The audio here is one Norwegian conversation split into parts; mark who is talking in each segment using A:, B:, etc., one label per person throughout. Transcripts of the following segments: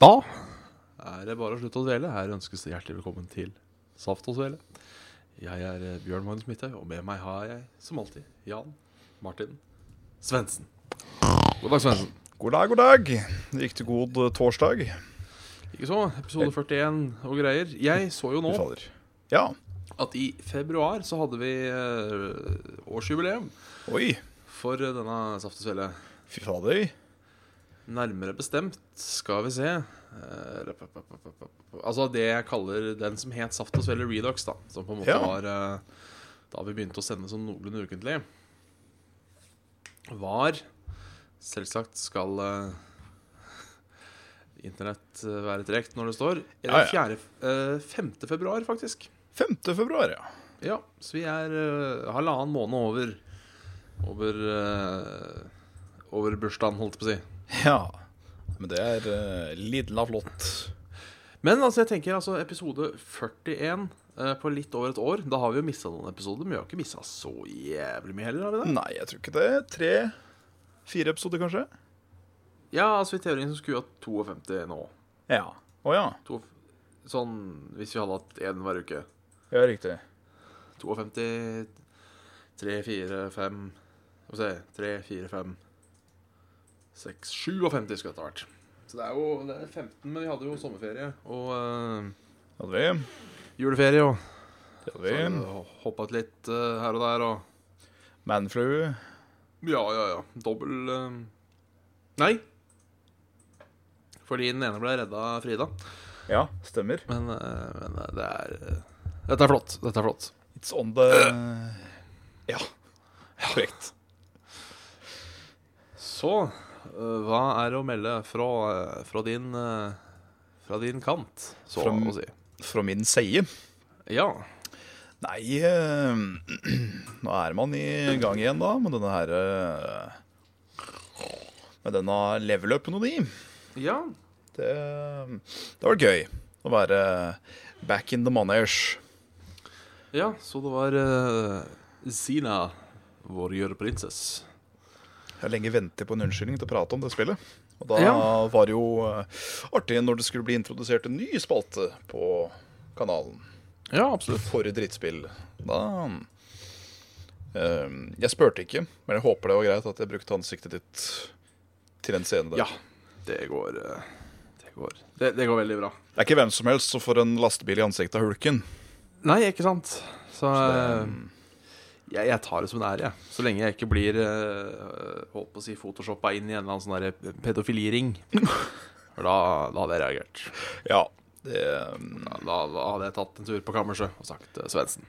A: Da er det bare å slutte å dvele. Her ønskes det hjertelig velkommen til Saft og Svele. Jeg er eh, Bjørn Magnus Midthaug, og med meg har jeg som alltid Jan Martin Svendsen. God dag, Svendsen.
B: God dag, god dag. Riktig god eh, torsdag.
A: Ikke så, episode 41 og greier. Jeg så jo nå
B: Fy fader. Ja.
A: at i februar så hadde vi eh, årsjubileum
B: Oi.
A: for denne Saft og Svele.
B: Fy fader.
A: Nærmere bestemt, skal vi se eh, rep- rep- rep- rep- rep- Altså det jeg kaller den som het Saft og Svelle Redox, da. Som på en måte
B: Ja.
A: var eh, Da vi begynte å sende sånn noenlunde ukentlig, var Selvsagt skal eh, Internett eh, være tregt når det står.
B: Ja, ja.
A: 4. eh, 5. februar, faktisk.
B: 5. februar, ja.
A: Ja, så vi er eh, halvannen måned over Over eh, Over bursdagen, holdt jeg på å si.
B: Ja. Men det er uh, lidla flott.
A: Men altså, jeg tenker altså episode 41 eh, på litt over et år. Da har vi jo mista noen episoder, men vi har ikke mista så jævlig mye heller. har vi det?
B: Nei, jeg tror ikke det. Tre, fire episoder, kanskje?
A: Ja, altså i teorien så skulle vi hatt 52 nå.
B: Ja. Å ja.
A: To, sånn hvis vi hadde hatt én hver uke.
B: Ja, riktig.
A: 52, 3, 4, 5 Skal vi se 3, 4, 5 6, 57 skulle dette vært. Så det er jo det er 15, men vi hadde jo sommerferie og eh,
B: Det hadde vi.
A: juleferie og
B: Det hadde vi.
A: så hoppa ut litt eh, her og der og
B: Manflu.
A: Ja, ja, ja. Dobbel eh, Nei. Fordi den ene ble redda av Frida.
B: Ja, stemmer.
A: Men, eh, men eh, det er eh, Dette er flott. Dette er flott.
B: It's on the Ja. Korrekt.
A: Så eh, hva er det å melde fra, eh, fra din eh, Fra din kant, så
B: Fra m-
A: å si?
B: Fra min seie.
A: Ja.
B: Nei, eh, nå er man i gang igjen da med denne her eh, Med denne level-upen og de.
A: Ja.
B: Det, det har vært gøy å være back in the manage.
A: ja så det var eh, Zina, vår gjøreprinsesse.
B: Jeg har lenge ventet på en unnskyldning til å prate om det spillet. Og da
A: Ja.
B: var det jo eh, artig når det skulle bli introdusert en ny spalte på kanalen
A: Ja, absolutt.
B: for drittspill. Da eh, Jeg spurte ikke, men jeg håper det var greit at jeg brukte ansiktet ditt til en scene der.
A: Ja. Det går eh, Det går, det, det går veldig bra.
B: Det er ikke hvem som helst som får en lastebil i ansiktet av hulken.
A: Nei, ikke sant. Så,
B: det-
A: eh, jeg, jeg tar det som en ære, jeg. Så lenge jeg ikke blir eh, holdt på å si photoshoppa inn i en eller annen sånn derre pedofiliring. For da, da hadde jeg reagert.
B: Ja, det
A: Da, da, da hadde jeg tatt en tur på kammerset og sagt til Svendsen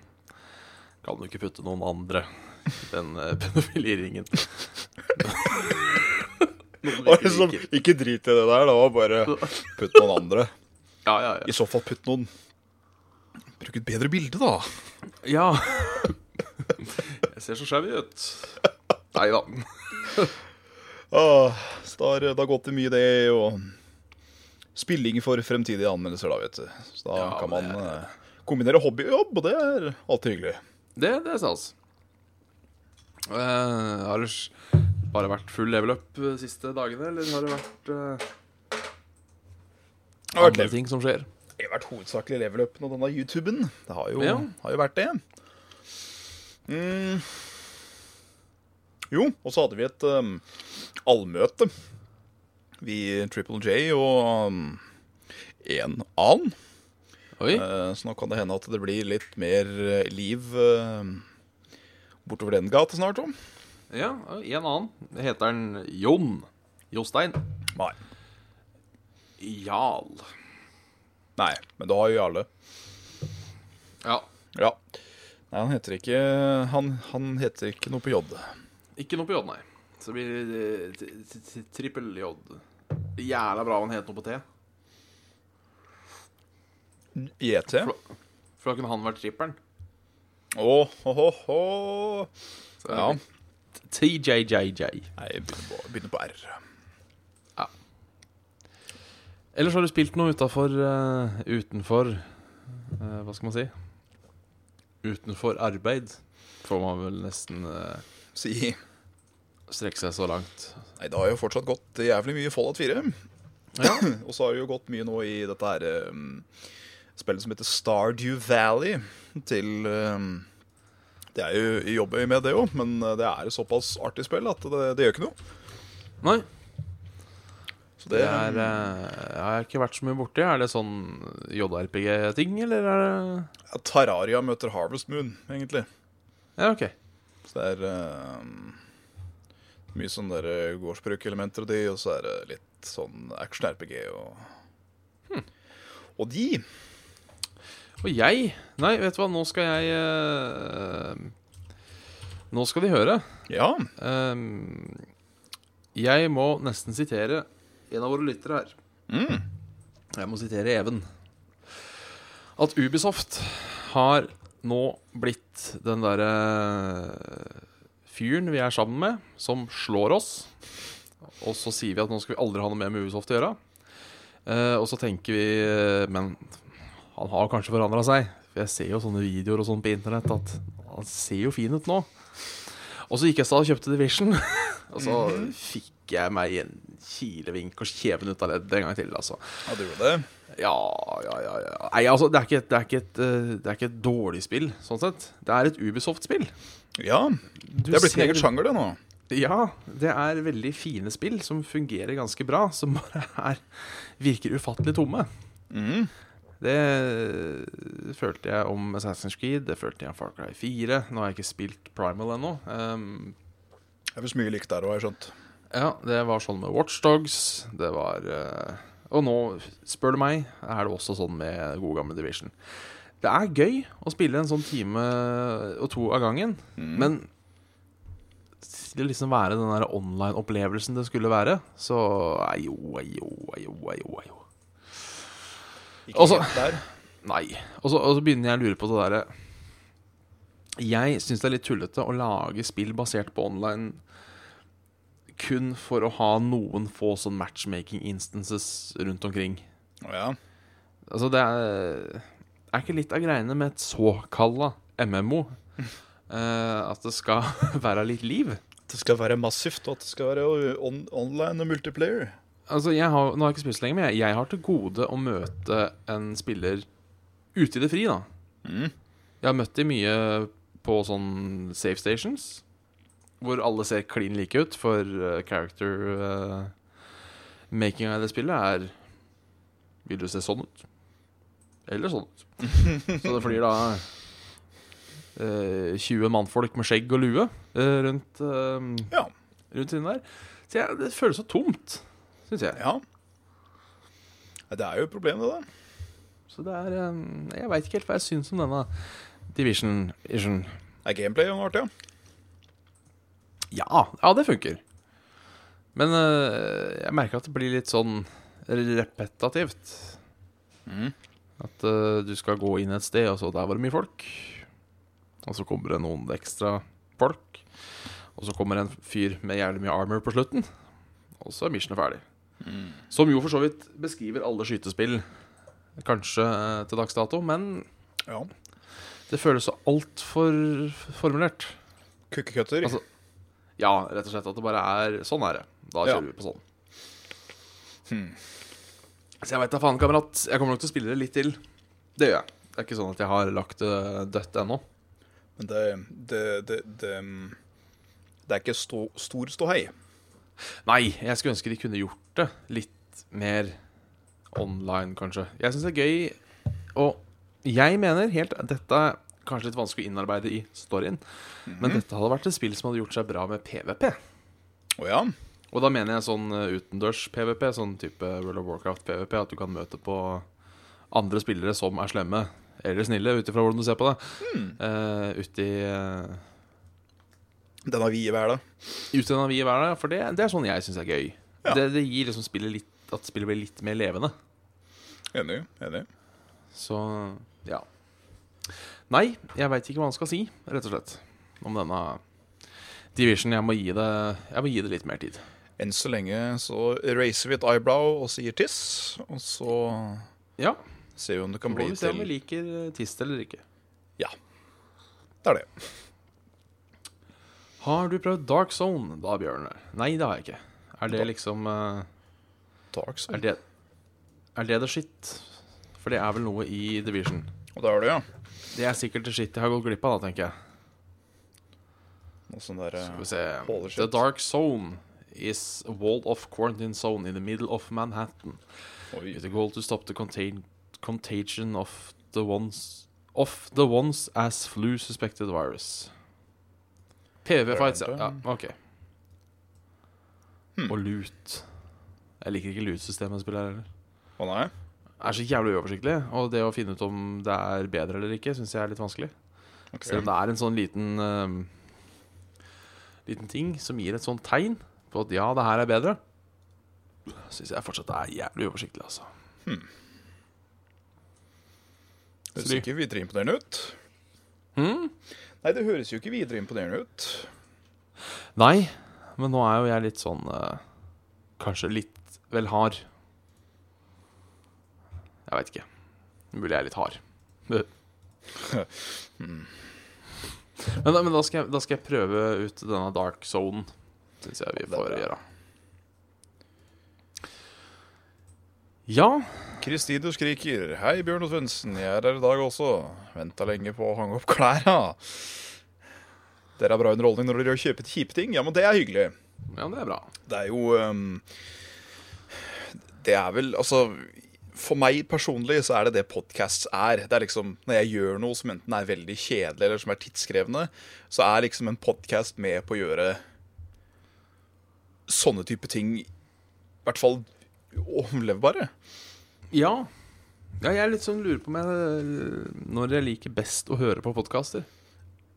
A: Kan du ikke putte noen andre i den eh, pedofiliringen? noen vi
B: var
A: ikke
B: liksom,
A: liker.
B: Ikke drit i det der, det var bare putt noen andre.
A: Ja, ja, ja.
B: I så fall putt noen Bruk et bedre bilde, da.
A: ja. jeg ser så skjev ut. Nei da.
B: Åh, så da har- det har gått til mye, det, og spilling for fremtidige anmeldelser, da, vet du. Så da
A: Ja,
B: kan
A: men
B: man eh, kombinere hobby og jobb, og det er alltid hyggelig.
A: Det, det er stas. Eh, har det s- bare vært full level up de siste dagene, eller har det vært eh,
B: Det har
A: andre
B: vært,
A: ting som skjer?
B: det har vært hovedsakelig level-upen og denne YouTuben. Det har jo,
A: Ja.
B: har jo vært det. Mm. Jo, og så hadde vi et um, allmøte. Vi Triple J og um, en annen.
A: Oi.
B: Eh, så nå kan det hende at det blir litt mer eh, liv eh, bortover den gata snart. Om.
A: Ja, en annen. Heter han Jon? Jostein?
B: Nei.
A: Jarl.
B: Nei, men da har jo Jarle.
A: Ja.
B: Ja. Nei, han heter ikke Han, han heter ikke noe på J.
A: Ikke noe på J, nei. Så blir det t- t- t- trippel J. Jævla bra om han het noe på T.
B: JT.
A: For da kunne han vært trippelen.
B: Åh, åh, åh, åh.
A: Så-
B: Ja.
A: TJJJ.
B: Nei, jeg begynner på, begynner på R.
A: Ellers har du spilt noe utafor Utenfor eh, Hva skal man si? Utenfor arbeid, får man vel nesten eh,
B: Si.
A: strekke seg så langt.
B: Nei, det har jo fortsatt gått jævlig mye Fallout 4.
A: Ja.
B: Og så har det jo gått mye nå i dette her ehm, spillet som heter Stardew Valley. Til ehm, Det er jo jeg jobber jo med det òg, men uh, det er et såpass artig spill at det, det gjør ikke noe.
A: Nei.
B: Så
A: Det er, eh, jeg har ikke vært så mye borti. Er det sånn JRPG-ting, eller er det
B: eh, Terraria møter Harvest Moon, egentlig.
A: Ja, OK.
B: Så det er ehm, mye sånn der eh, gårdsbrukelementer og de, og så er det litt sånn action-RPG og Hm. Og de
A: Og jeg Nei, vet du hva, nå skal jeg eh, Nå skal de høre.
B: Ja.
A: Ehm, jeg må nesten sitere en av våre lyttere her.
B: Mm.
A: Jeg må sitere Even. At Ubisoft har nå blitt den derre fyren vi er sammen med, som slår oss. Og så sier vi at nå skal vi aldri ha noe mer med Ubisoft å gjøre. Eh, og så tenker vi eh, Men han har kanskje forandra seg. For jeg ser jo sånne videoer og sånn på internett at han ser jo fin ut nå. Og så gikk jeg i stad og kjøpte Division. og så
B: Mhm.
A: fikk jeg meg en kilevink og kjeven ut av leddet en gang til, altså.
B: Ja, du gjorde det?
A: Ja, ja, ja, ja. Nei, altså, det er, ikke et, det, er ikke et, eh, det er ikke et dårlig spill, sånn sett. Det er et Ubisoft-spill.
B: Ja. Det er blitt en egen sjanger, det nå.
A: Ja, det er veldig fine spill som fungerer ganske bra, som bare er, virker ufattelig tomme.
B: Mm.
A: Det følte jeg om Assassin's Creed, det følte jeg om Far Cry 4. Nå har jeg ikke spilt Primal ennå. Um,
B: Det er visst mye likt der òg, har jeg skjønt.
A: ja, det var sånn med Watchdogs, det var eh, Og nå, spør du meg, er det også sånn med god gamle Division. Det er gøy å spille en sånn time og to av gangen,
B: Mhm. Mm.
A: men til å liksom være den der online-opplevelsen det skulle være, så ajo, ajo, ajo, ajo, ajo.
B: Ikke
A: Altså-
B: helt der.
A: Nei. Og så, og så begynner jeg å lure på det derre Jeg syns det er litt tullete å lage spill basert på online kun for å ha noen få sånn matchmaking instances rundt omkring.
B: Å ja.
A: Altså, det er, er ikke litt av greiene med et såkalla MMO. eh, at det skal være litt liv.
B: Det skal være massivt, og at det skal være uh, on online og multiplayer.
A: Altså, jeg har, Nå har jeg ikke spilt så lenge, men jeg, jeg har til gode å møte en spiller ute i det fri, da.
B: Mm.
A: Jeg har møtt de mye på sånn safe stations, hvor alle ser klin like ut, for eh, character eh, making av det spillet er Vil du se sånn ut? Eller sånn ut. Så det flyr da eh, 20 mannfolk med skjegg og lue eh, rundt, eh,
B: Ja.
A: rundt siden der. Så jeg, det føles så tomt, syns jeg.
B: ja. Nei, Det er jo et problem, det, da.
A: Så det er eh, Jeg veit ikke helt hva jeg syns om denne Division-ition.
B: Er gameplay noe artig, ja?
A: Ja, ja det funker. Men eh, jeg merker at det blir litt sånn repetativt.
B: Mhm.
A: At eh, du skal gå inn et sted, og så der var det mye folk. Og så kommer det noen ekstra folk. Og så kommer en fyr med jævlig mye armor på slutten. Og så er missionet ferdig.
B: Mhm.
A: Som jo for så vidt beskriver alle skytespill, kanskje eh, til dags dato, men
B: Ja.
A: det føles så altfor formulert.
B: Kukkekutter.
A: Altså- Ja, rett og slett at det bare er Sånn er det. Da
B: Ja.
A: kjører vi på sånn. Så jeg veit da faen, kamerat. Jeg kommer nok til å spille det litt til. Det gjør jeg. Det er ikke sånn at jeg har lagt det dødt ennå.
B: Men det det, det, det mm, det er ikke stå, stor ståhei.
A: Nei, jeg skulle ønske de kunne gjort det litt mer online, kanskje. Jeg syns det er gøy, og jeg mener helt Dette er kanskje litt vanskelig å innarbeide i storyen, men dette hadde vært et spill som hadde gjort seg bra med PVP.
B: Å ja.
A: Og da mener jeg sånn eh, utendørs PVP, sånn type World of Warcraft PVP, at du kan møte på andre spillere som er slemme eller snille, ut ifra hvordan du ser på det.
B: Hmm.
A: Eh, ute i eh,
B: Den har vi i hverdag.
A: ute i den vide verden. For det, det er sånn jeg syns er gøy.
B: Ja.
A: Det, det gir liksom spillet litt At spillet blir litt mer levende.
B: Enig. enig.
A: Så ja. Nei, jeg veit ikke hva han skal si, rett og slett, om denne Division. Jeg må gi det, jeg må gi det litt mer tid.
B: Enn så lenge så racer vi et eyebrow og sier tiss, og så
A: Ja.
B: ser vi om det
A: Så
B: kan
A: får
B: bli
A: vi se om vi
B: til
A: liker eh, Tist eller ikke.
B: Ja. Det er det.
A: Har du prøvd Dark Zone da, Bjørn? Nei, det har jeg ikke. Er det liksom eh,
B: Dark Souls.
A: Er det, Er det det skitt? For det er vel noe i Division.
B: Og det er det, ja.
A: Det er sikkert det skitt jeg har gått glipp av, da, tenker jeg.
B: Noe sånn der,
A: Skal vi
B: eh, Holy
A: se
B: shit.
A: The dark zone is a walled off quarantine zone in the middle of Manhattan.
B: eh, oi.
A: With the goal to stop the contain contagion of the ones of the ones as flu suspected virus. PV fights, ja. ja OK. Og lut. Jeg liker ikke lutsystemet jeg spiller heller.
B: Å nei?
A: Det er så jævlig uoversiktlig, og det å finne ut om det er bedre eller ikke, syns jeg er litt vanskelig.
B: Ok.
A: Selv om det er en sånn liten ehm, Liten ting som gir et sånt tegn på at ja, det her er bedre, syns jeg fortsatt det er jævlig uoversiktlig, altså.
B: Det ser ikke videre imponerende ut.
A: Hmm?
B: Nei, det høres jo ikke videre imponerende ut.
A: Nei, men nå er jo jeg litt sånn eh, Kanskje litt vel hard. Jeg veit ikke. Mulig jeg er litt hard. Men, da- men da, skal jeg, da skal jeg prøve ut denne dark zonen. Syns jeg vi
B: det er
A: får
B: bra.
A: gjøre. Ja,
B: Kristine skriker 'Hei, Bjørn og Svendsen, jeg er her i dag også'. Venta lenge på å hange opp klærne. Dere har bra underholdning når dere kjøper kjipe ting. Ja, men det er hyggelig.
A: ja det er bra.
B: Det er jo ehm, Det er vel Altså for meg personlig så er det det podcasts er. Det er liksom, Når jeg gjør noe som enten er veldig kjedelig eller som er tidskrevende, så er liksom en podkast med på å gjøre sånne type ting i hvert fall overlevbare.
A: Ja. ja jeg er litt sånn lurer på meg når jeg liker best å høre på podkaster.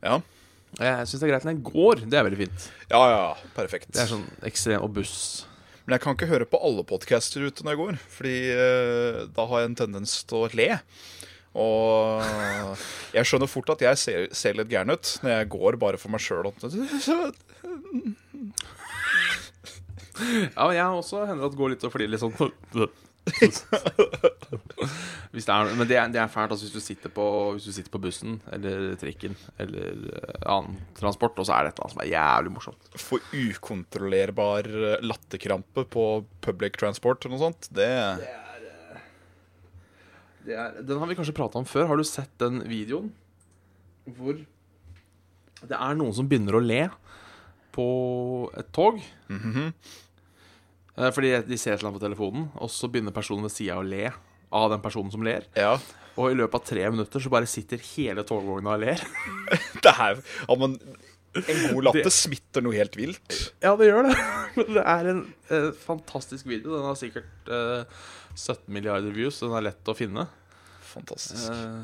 B: Ja,
A: Jeg syns det er greit når jeg går. Det er veldig fint.
B: ja, ja perfekt.
A: Det er sånn ekstrem og buss.
B: Men jeg kan ikke høre på alle podcaster ute når jeg går, fordi eh, da har jeg en tendens til å le. Og jeg skjønner fort at jeg ser, ser litt gæren ut når jeg går bare for meg sjøl. Ja,
A: Ja, men jeg har også hender at går litt og flirer litt sånn hvis det er, Men det er, det er fælt altså, hvis, du sitter på, hvis du sitter på bussen eller trikken eller eh, annen transport, og så er det et eller annet som er jævlig morsomt.
B: For ukontrollerbar eh, latterkrampe på public transport eller noe sånt, det
A: den har vi kanskje prata om før. Har du sett den videoen hvor det er noen som begynner å le på et tog? Mhm. Eh, Fordi de ser et eller annet på telefonen, og så begynner personen ved sida å le av den personen som ler.
B: Ja.
A: Og i løpet av tre minutter så bare sitter hele togvogna og ler.
B: Det er ja, men En god latter smitter noe helt vilt.
A: Ja, det gjør det. Men det er en eh, fantastisk video. Den har sikkert eh, 17 milliarder views, så den er lett å finne.
B: Fantastisk.
A: Eh,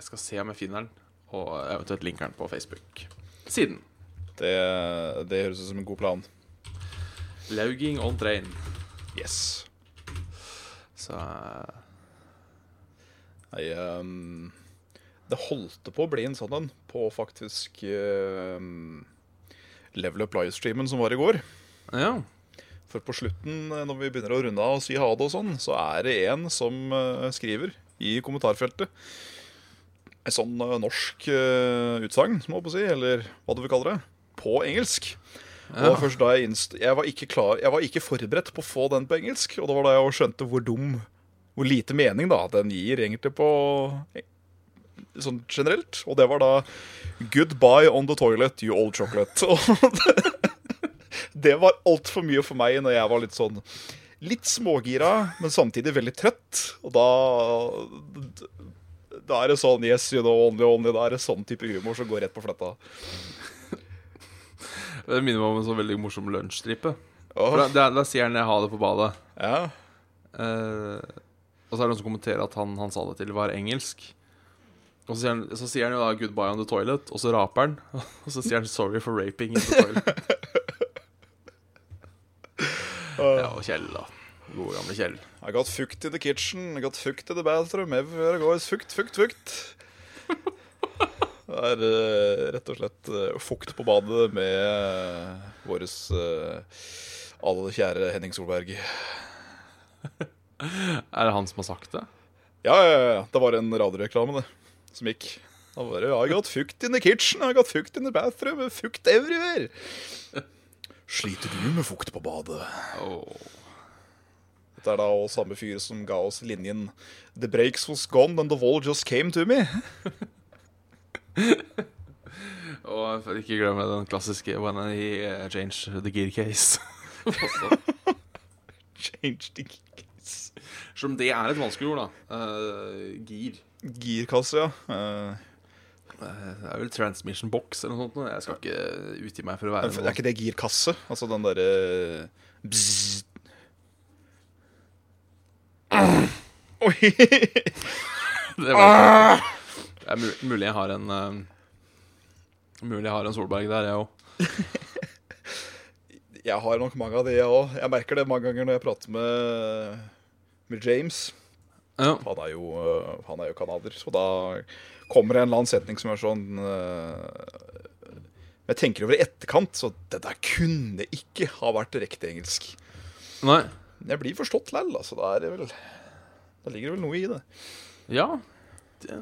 A: jeg skal se om jeg finner den, og eventuelt linker den på Facebook. Siden.
B: Det, det høres ut som en god plan.
A: Lauging on train.
B: Yes.
A: Så eh,
B: Nei, ehm, det holdt på å bli en sånn en på faktisk ehm, Level Up Livestreamen som var i går.
A: ja.
B: For på slutten, eh, når vi begynner å runde av og si ha det og sånn, så er det en som eh, skriver i kommentarfeltet et sånn eh, norsk eh, utsagn, må jeg på å si, eller hva du vil kalle det, på engelsk. Og
A: Ja.
B: først da jeg, innst jeg, var ikke klar, jeg var ikke forberedt på å få den på engelsk, og det var da jeg også skjønte hvor dum, hvor lite mening da, den gir egentlig på eh, sånn generelt. Og det var da 'Goodbye on the toilet, you old chocolate'. Og det var altfor mye for meg når jeg var litt sånn Litt smågira, men samtidig veldig trøtt. Og da Da er det sånn Yes, you know, only, only. Da er det sånn type humor som går rett på fletta.
A: Det minner meg om en så veldig morsom lunsjstripe. For Da,
B: Åh,
A: da, da sier han 'jeg har det på badet'.
B: ja.
A: Eh, og så er det noen som kommenterer at han han sa det til, var engelsk. Og så sier, han, så sier han jo da 'goodbye on the toilet', og så raper han. Og så sier han 'sorry for raping in the toilet'. ja, og Kjell, da. Gode, gamle Kjell.
B: I got fucked in the kitchen, I got fucked in the bathroom, everywhere I go is fucked, fucked, fucked. Det er eh, rett og slett eh, fukt på badet med uh, våres eh, alle kjære Henning Solberg.
A: Er det han som har sagt det?
B: Ja, ja, ja, ja. Det var en radioreklame, det. Som gikk. Da var det I got fucked in the kitchen, I got fucked in the bathroom, fucked everywhere. Sliter du med fukt på badet?
A: Åh.
B: Jeg Dette er da også samme fyr som ga oss linjen The breaks was gone and the wall just came to me.
A: Og for ikke glemme den klassiske When I eh, change the gear case.
B: Change the gears.
A: Selv om det er et vanskelig ord, da. Eh, gir.
B: Girkasse, ja. Eh,
A: Eh, det er vel transmission box eller noe sånt. nå. Jeg skal ikke utgi meg for å være
B: er
A: noe.
B: ikke det girkasse? Altså den derre eh, Bzzz. Oi!
A: Det, var, det er mul- mulig jeg har en eh, Mulig jeg har en Solberg der, jeg òg.
B: Jeg har nok mange av de, jeg òg. Jeg merker det mange ganger når jeg prater med, med James.
A: Ja.
B: Han er jo, øh, han er jo kanader, så da kommer det en eller annen setning som er sånn øh, Jeg tenker over i etterkant, så det der kunne ikke ha vært riktig engelsk.
A: Nei.
B: Men jeg blir forstått lell, altså. Da, er det vel, da ligger det vel noe i det.
A: Ja. Det.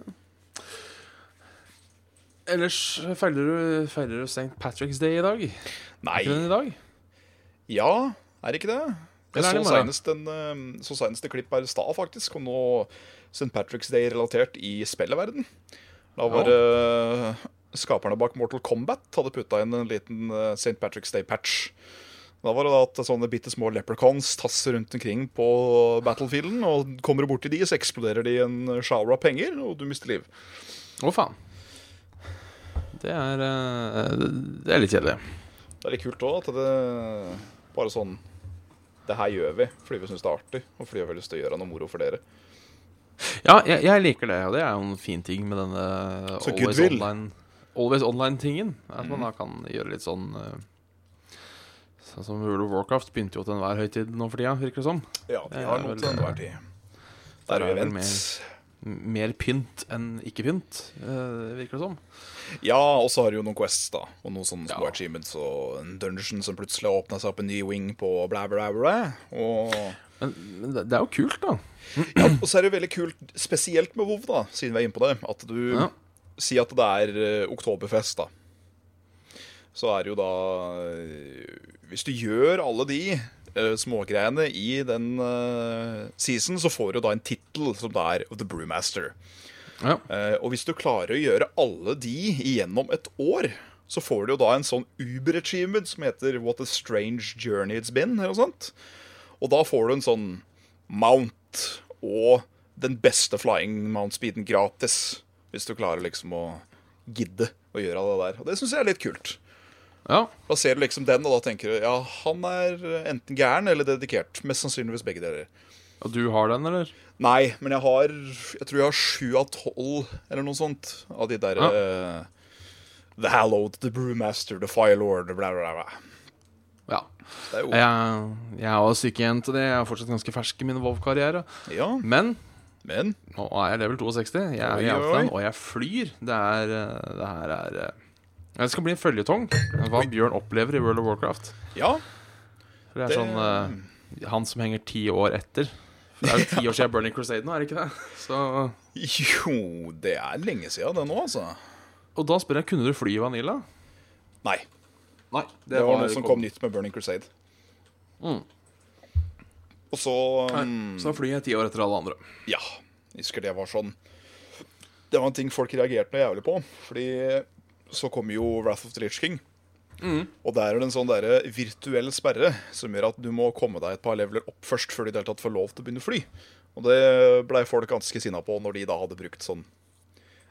A: Ellers feiler du, feiler du St. Patrick's Day i dag? Er
B: Nei.
A: ikke den i dag?
B: Ja, er det ikke det? Jeg
A: Eller er
B: så
A: det i morgen?
B: senest, en, øh, så senest et klipp her i stad, faktisk, om noe St. Patrick's Day-relatert i spilleverden. Da var det øh, skaperne bak Mortal Kombat hadde putta inn en liten øh, St. Patrick's Day-patch. Da var det da at sånne bitte små leprechauns tasser rundt omkring på battlefielden. Og kommer du borti de, så eksploderer de i en shower av penger, og du mister liv.
A: Å, faen. Det er eh, Det er litt kjedelig.
B: Det er litt kult òg at det bare sånn Det her gjør vi fordi vi syns det er artig, og fordi vi har lyst til å gjøre noe moro for dere.
A: Ja, jeg, jeg liker det, og det er jo en fin ting med denne
B: Så
A: always
B: goodwill. Mm.
A: online Always online-tingen. At man da kan gjøre litt sånn eh, Sånn som World of Warcraft begynte jo til enhver høytid nå for tida, virker det som.
B: Ja,
A: de har noe til enhver
B: tid.
A: Der
B: Der
A: er
B: er jo
A: vel
B: event.
A: M- Mer pynt enn ikke pynt, eh, virker det som.
B: Ja, og så har du jo noen quests, da. Og noen sånne små
A: Ja.
B: achievements og en dungeon som plutselig har åpna seg opp en ny wing på bla, bla, bla. Og,
A: Men, men det, det er jo kult, da.
B: ja, og så er det jo veldig kult, spesielt med WoW, da, siden vi er inne på det, at du
A: Ja.
B: Si at det er eh, oktoberfest, da. Så er det jo da eh, Hvis du gjør alle de eh, smågreiene i den eh, season, så får du da en tittel som da er The Brewmaster.
A: Ja.
B: Eh, og hvis du klarer å gjøre alle de igjennom et år, så får du jo da en sånn Uber-achievement som heter What a strange journey it's been, eller noe sånt. Og da får du en sånn mount og den beste flying mount speeden gratis. Hvis du klarer liksom å gidde å gjøre det der. Og det syns jeg er litt kult.
A: ja.
B: Da ser du liksom den, og da tenker du ja, han er enten gæren eller dedikert. Mest sannsynligvis begge deler.
A: Og du har den, eller?
B: Nei, men jeg har Jeg tror jeg har sju av tolv eller noe sånt av de der
A: Ja.
B: eh, The Hallowed, The Brewmaster, The Firelord, bla, bla, bla.
A: Ja.
B: Det er jo
A: Jeg, jeg er også sykehjem til det. Jeg er fortsatt ganske fersk i min Vov-karriere.
B: Ja,
A: Men
B: men
A: Nå ah, er jeg level 62. Jeg er
B: Oi,
A: i Outland,
B: oi.
A: og jeg flyr. Det er eh, Det her er eh, Det skal bli en føljetong. Hva Bjørn opplever i World of Warcraft.
B: Ja.
A: For det er
B: Det-
A: sånn eh, Han som henger ti år etter. For det er jo ti år siden Burning Crusade nå, er det ikke det? Så,
B: Jo, det er lenge siden det nå, altså.
A: og da spør jeg kunne du fly i Vanilla.
B: Nei.
A: Nei,
B: Det, var noe som kom nytt med Burning Crusade.
A: Mm.
B: Og så um,
A: Så flyr jeg ti år etter alle andre.
B: Ja, jeg husker det var sånn Det var en ting folk reagerte noe jævlig på. Fordi så kom jo Wrath of the Lich King. Og der er det en sånn derre virtuell sperre som gjør at du må komme deg et par leveler opp først før du i det hele tatt får lov til å begynne å fly. Og det blei folk ganske sinna på når de da hadde brukt sånn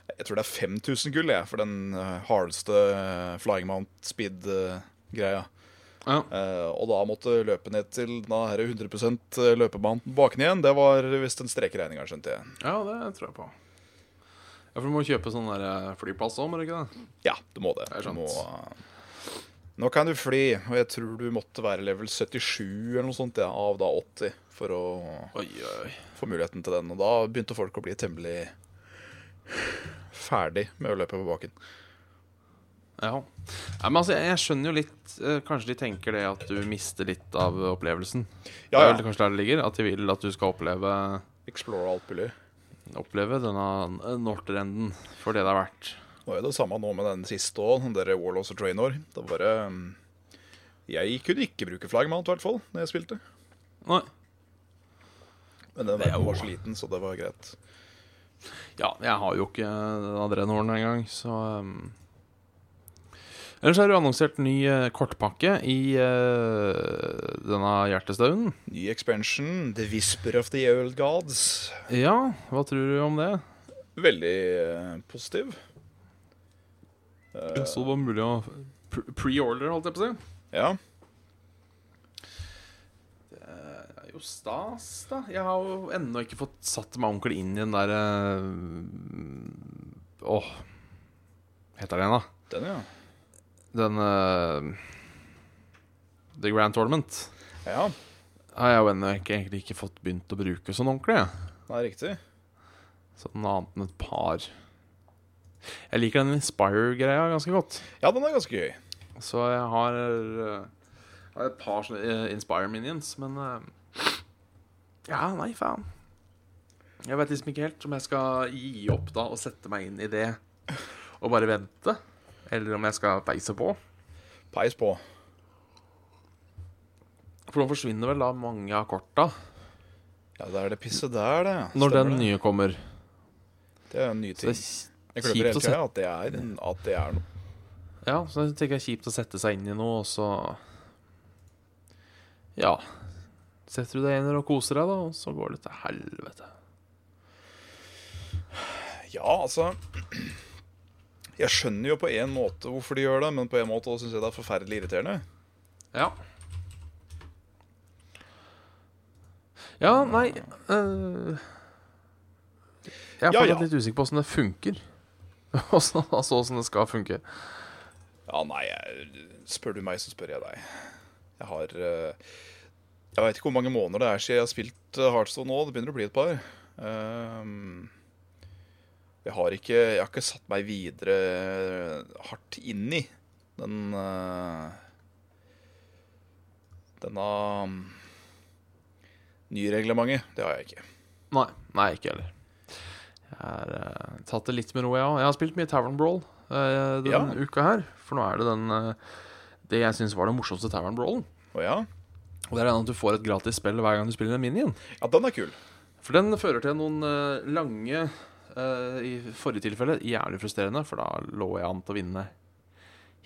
B: Jeg tror det er 5000 gull, jeg, for den eh, hardeste eh, flying mount speed-greia.
A: Ja.
B: Eh, og da måtte løpe ned til den her 100 løpebanen bak ned igjen. Det var visst en strekeregning, her, skjønte jeg.
A: ja, det tror jeg på. Ja, For du må kjøpe sånn der eh, flypass òg, må du ikke det?
B: Ja, du må det.
A: Det er
B: Du
A: sant.
B: må, eh, nå kan du fly, og jeg tror du måtte være level 77 eller noe sånt ja, av da 80 for å
A: Oi, oi.
B: få muligheten til den. Og da begynte folk å bli temmelig ferdig med å løpe på bakken.
A: Ja. Nei, men altså, jeg, jeg skjønner jo litt eh, Kanskje de tenker det at du mister litt av opplevelsen.
B: Ja,
A: Det er
B: ja.
A: vel kanskje der det ligger. At de vil at du skal oppleve,
B: Explore alt mulig.
A: oppleve denne eh, Nortrenden for det det er verdt.
B: Det var jo det samme nå med den siste òg, den derre Warlords og Draenor. Det var bare mm, Jeg kunne ikke bruke flaggmount, i hvert fall, når jeg spilte.
A: Nei.
B: Men den
A: Det er
B: verden var
A: jo-
B: så liten, så det var greit.
A: Ja, jeg har jo ikke adrenhorn engang, så um. Ellers er det jo annonsert ny eh, kortpakke i eh, denne hjertestauen.
B: Ny expansion, The Whisper of the Old Gods.
A: Ja, hva tror du om det?
B: Veldig eh, positiv.
A: Så det var mulig å pre- pre-order, holdt jeg på å si.
B: Eh, Ja.
A: Det er jo stas, da. Jeg har jo ennå ikke fått satt meg ordentlig inn i den der eh, Åh, heter den, da?
B: Den, ja.
A: Den eh, The Grand Tournament.
B: Ja,
A: Har jeg jo ennå ikke, egentlig ikke fått begynt å bruke sånn ordentlig. jeg.
B: det er riktig.
A: Sånn annet enn et par. Jeg liker den Inspire-greia ganske godt.
B: Ja, den er ganske gøy.
A: Så jeg har, eh, har et par sånne eh, Inspire Minions, men eh, Ja, nei, faen. Jeg vet liksom ikke helt om jeg skal gi opp da og sette meg inn i det og bare vente. Eller om jeg skal peise på.
B: Peis på.
A: For nå forsvinner vel da mange av korta
B: Ja, det er det pisset der, det.
A: når den
B: Stemmer det.
A: nye kommer.
B: Det er en ny
A: Så det,
B: ting. Jeg glemmer
A: kjipt
B: hele
A: å
B: tida at det er, en- at det er noe.
A: ja, så jeg tenker det er kjipt å sette seg inn i noe, og så Ja. Setter du deg inn og koser deg, da, og så går det til helvete.
B: Ja, altså Jeg skjønner jo på en måte hvorfor de gjør det, men på en måte syns jeg det er forferdelig irriterende.
A: Ja. Ja, nei eh, Jeg er
B: Ja,
A: fortsatt
B: ja.
A: litt usikker på åssen det funker. Åssen- altså åssen det skal funke.
B: Ja, nei, jeg, spør du meg, så spør jeg deg. Jeg har eh, Jeg veit ikke hvor mange måneder det er siden jeg har spilt eh, Hearthstone nå. Det begynner å bli et par. Ehm, jeg har ikke Jeg har ikke satt meg videre eh, hardt inn i den eh, Denne um, nyreglementet. Det har jeg ikke.
A: Nei, nei ikke heller. Jeg har eh, tatt det litt med ro, jeg òg. Jeg har spilt mye Tavern Brawl eh, denne uka her. For nå er det den eh, Det jeg syns var den morsomste Tavern Brawlen.
B: Å ja?
A: Og det er den at du får et gratis spill hver gang du spiller en minion.
B: Ja, den er kul.
A: For den fører til noen eh, lange eh, I forrige tilfelle jævlig frustrerende, for da lå jeg an til å vinne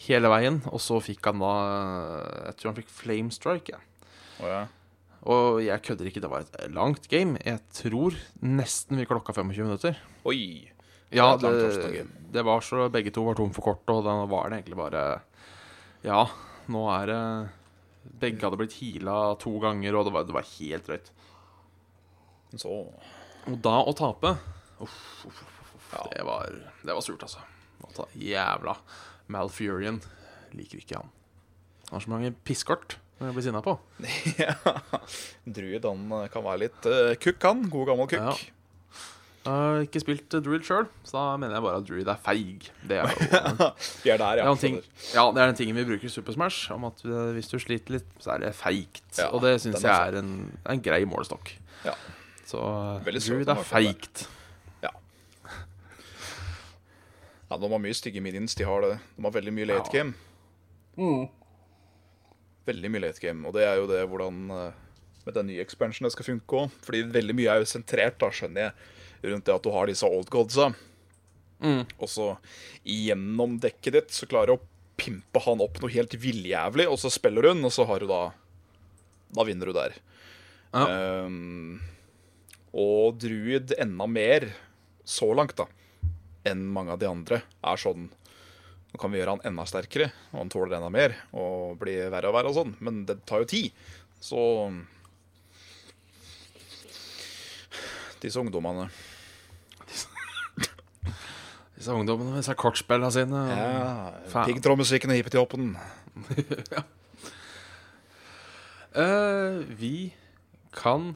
A: hele veien. Og så fikk han da eh, Jeg tror han fikk flame strike. Ja.
B: Å ja.
A: Og jeg kødder ikke, det var et langt game. Jeg tror nesten vi klokka 25 minutter.
B: Oi.
A: Ja, det,
B: Det er et langt Hearthstone game.
A: det var så begge to var tom for kortet, og da var det egentlig bare Ja, nå er det Begge hadde blitt heala to ganger, og det var, det var helt drøyt.
B: Så
A: Og da å tape
B: Ja.
A: Det var, det var surt, altså. Å ta jævla Malfurion. Liker ikke han. Han har så mange pisskort når jeg blir sinna på.
B: Ja. Druid han eh, kan være litt eh, kukk, han. God gammel kukk.
A: Ja. Jeg har ikke spilt eh, Druid sjøl, så da mener jeg bare at Druid er feig. Det er jo
B: Vi er der,
A: det
B: ja.
A: er en ting, ja, det er den tingen vi bruker i Super Smash, om at eh, hvis du sliter litt, så er det feigt.
B: Ja,
A: og det syns
B: den er
A: jeg er en, en grei målestokk.
B: Ja.
A: Så eh,
B: Veldig søt,
A: Druid
B: den
A: er
B: var det.
A: feigt.
B: ja, de har mye stygge minions. De har det. De har veldig mye late
A: Ja.
B: game. Mm. Veldig mye late game, og det er jo det hvordan eh, med den nye expansionen det skal funke òg. Fordi veldig mye er jo sentrert, da, skjønner jeg, rundt det at du har disse old godsa. Og så gjennom dekket ditt så klarer du å pimpe han opp noe helt villjævlig, og så spiller hun, og så har du da Da vinner du der.
A: Ja.
B: Ehm, og druid enda mer, så langt, da, enn mange av de andre, er sånn Nå kan vi gjøre han enda sterkere, og han tåler enda mer, og blir verre og verre og sånn, men det tar jo tid. Så Disse ungdommene.
A: Disse ungdommene med disse kortspillene sine. og- faen.
B: Piggtrådmusikken og hippetiehoppen.
A: Eh, vi kan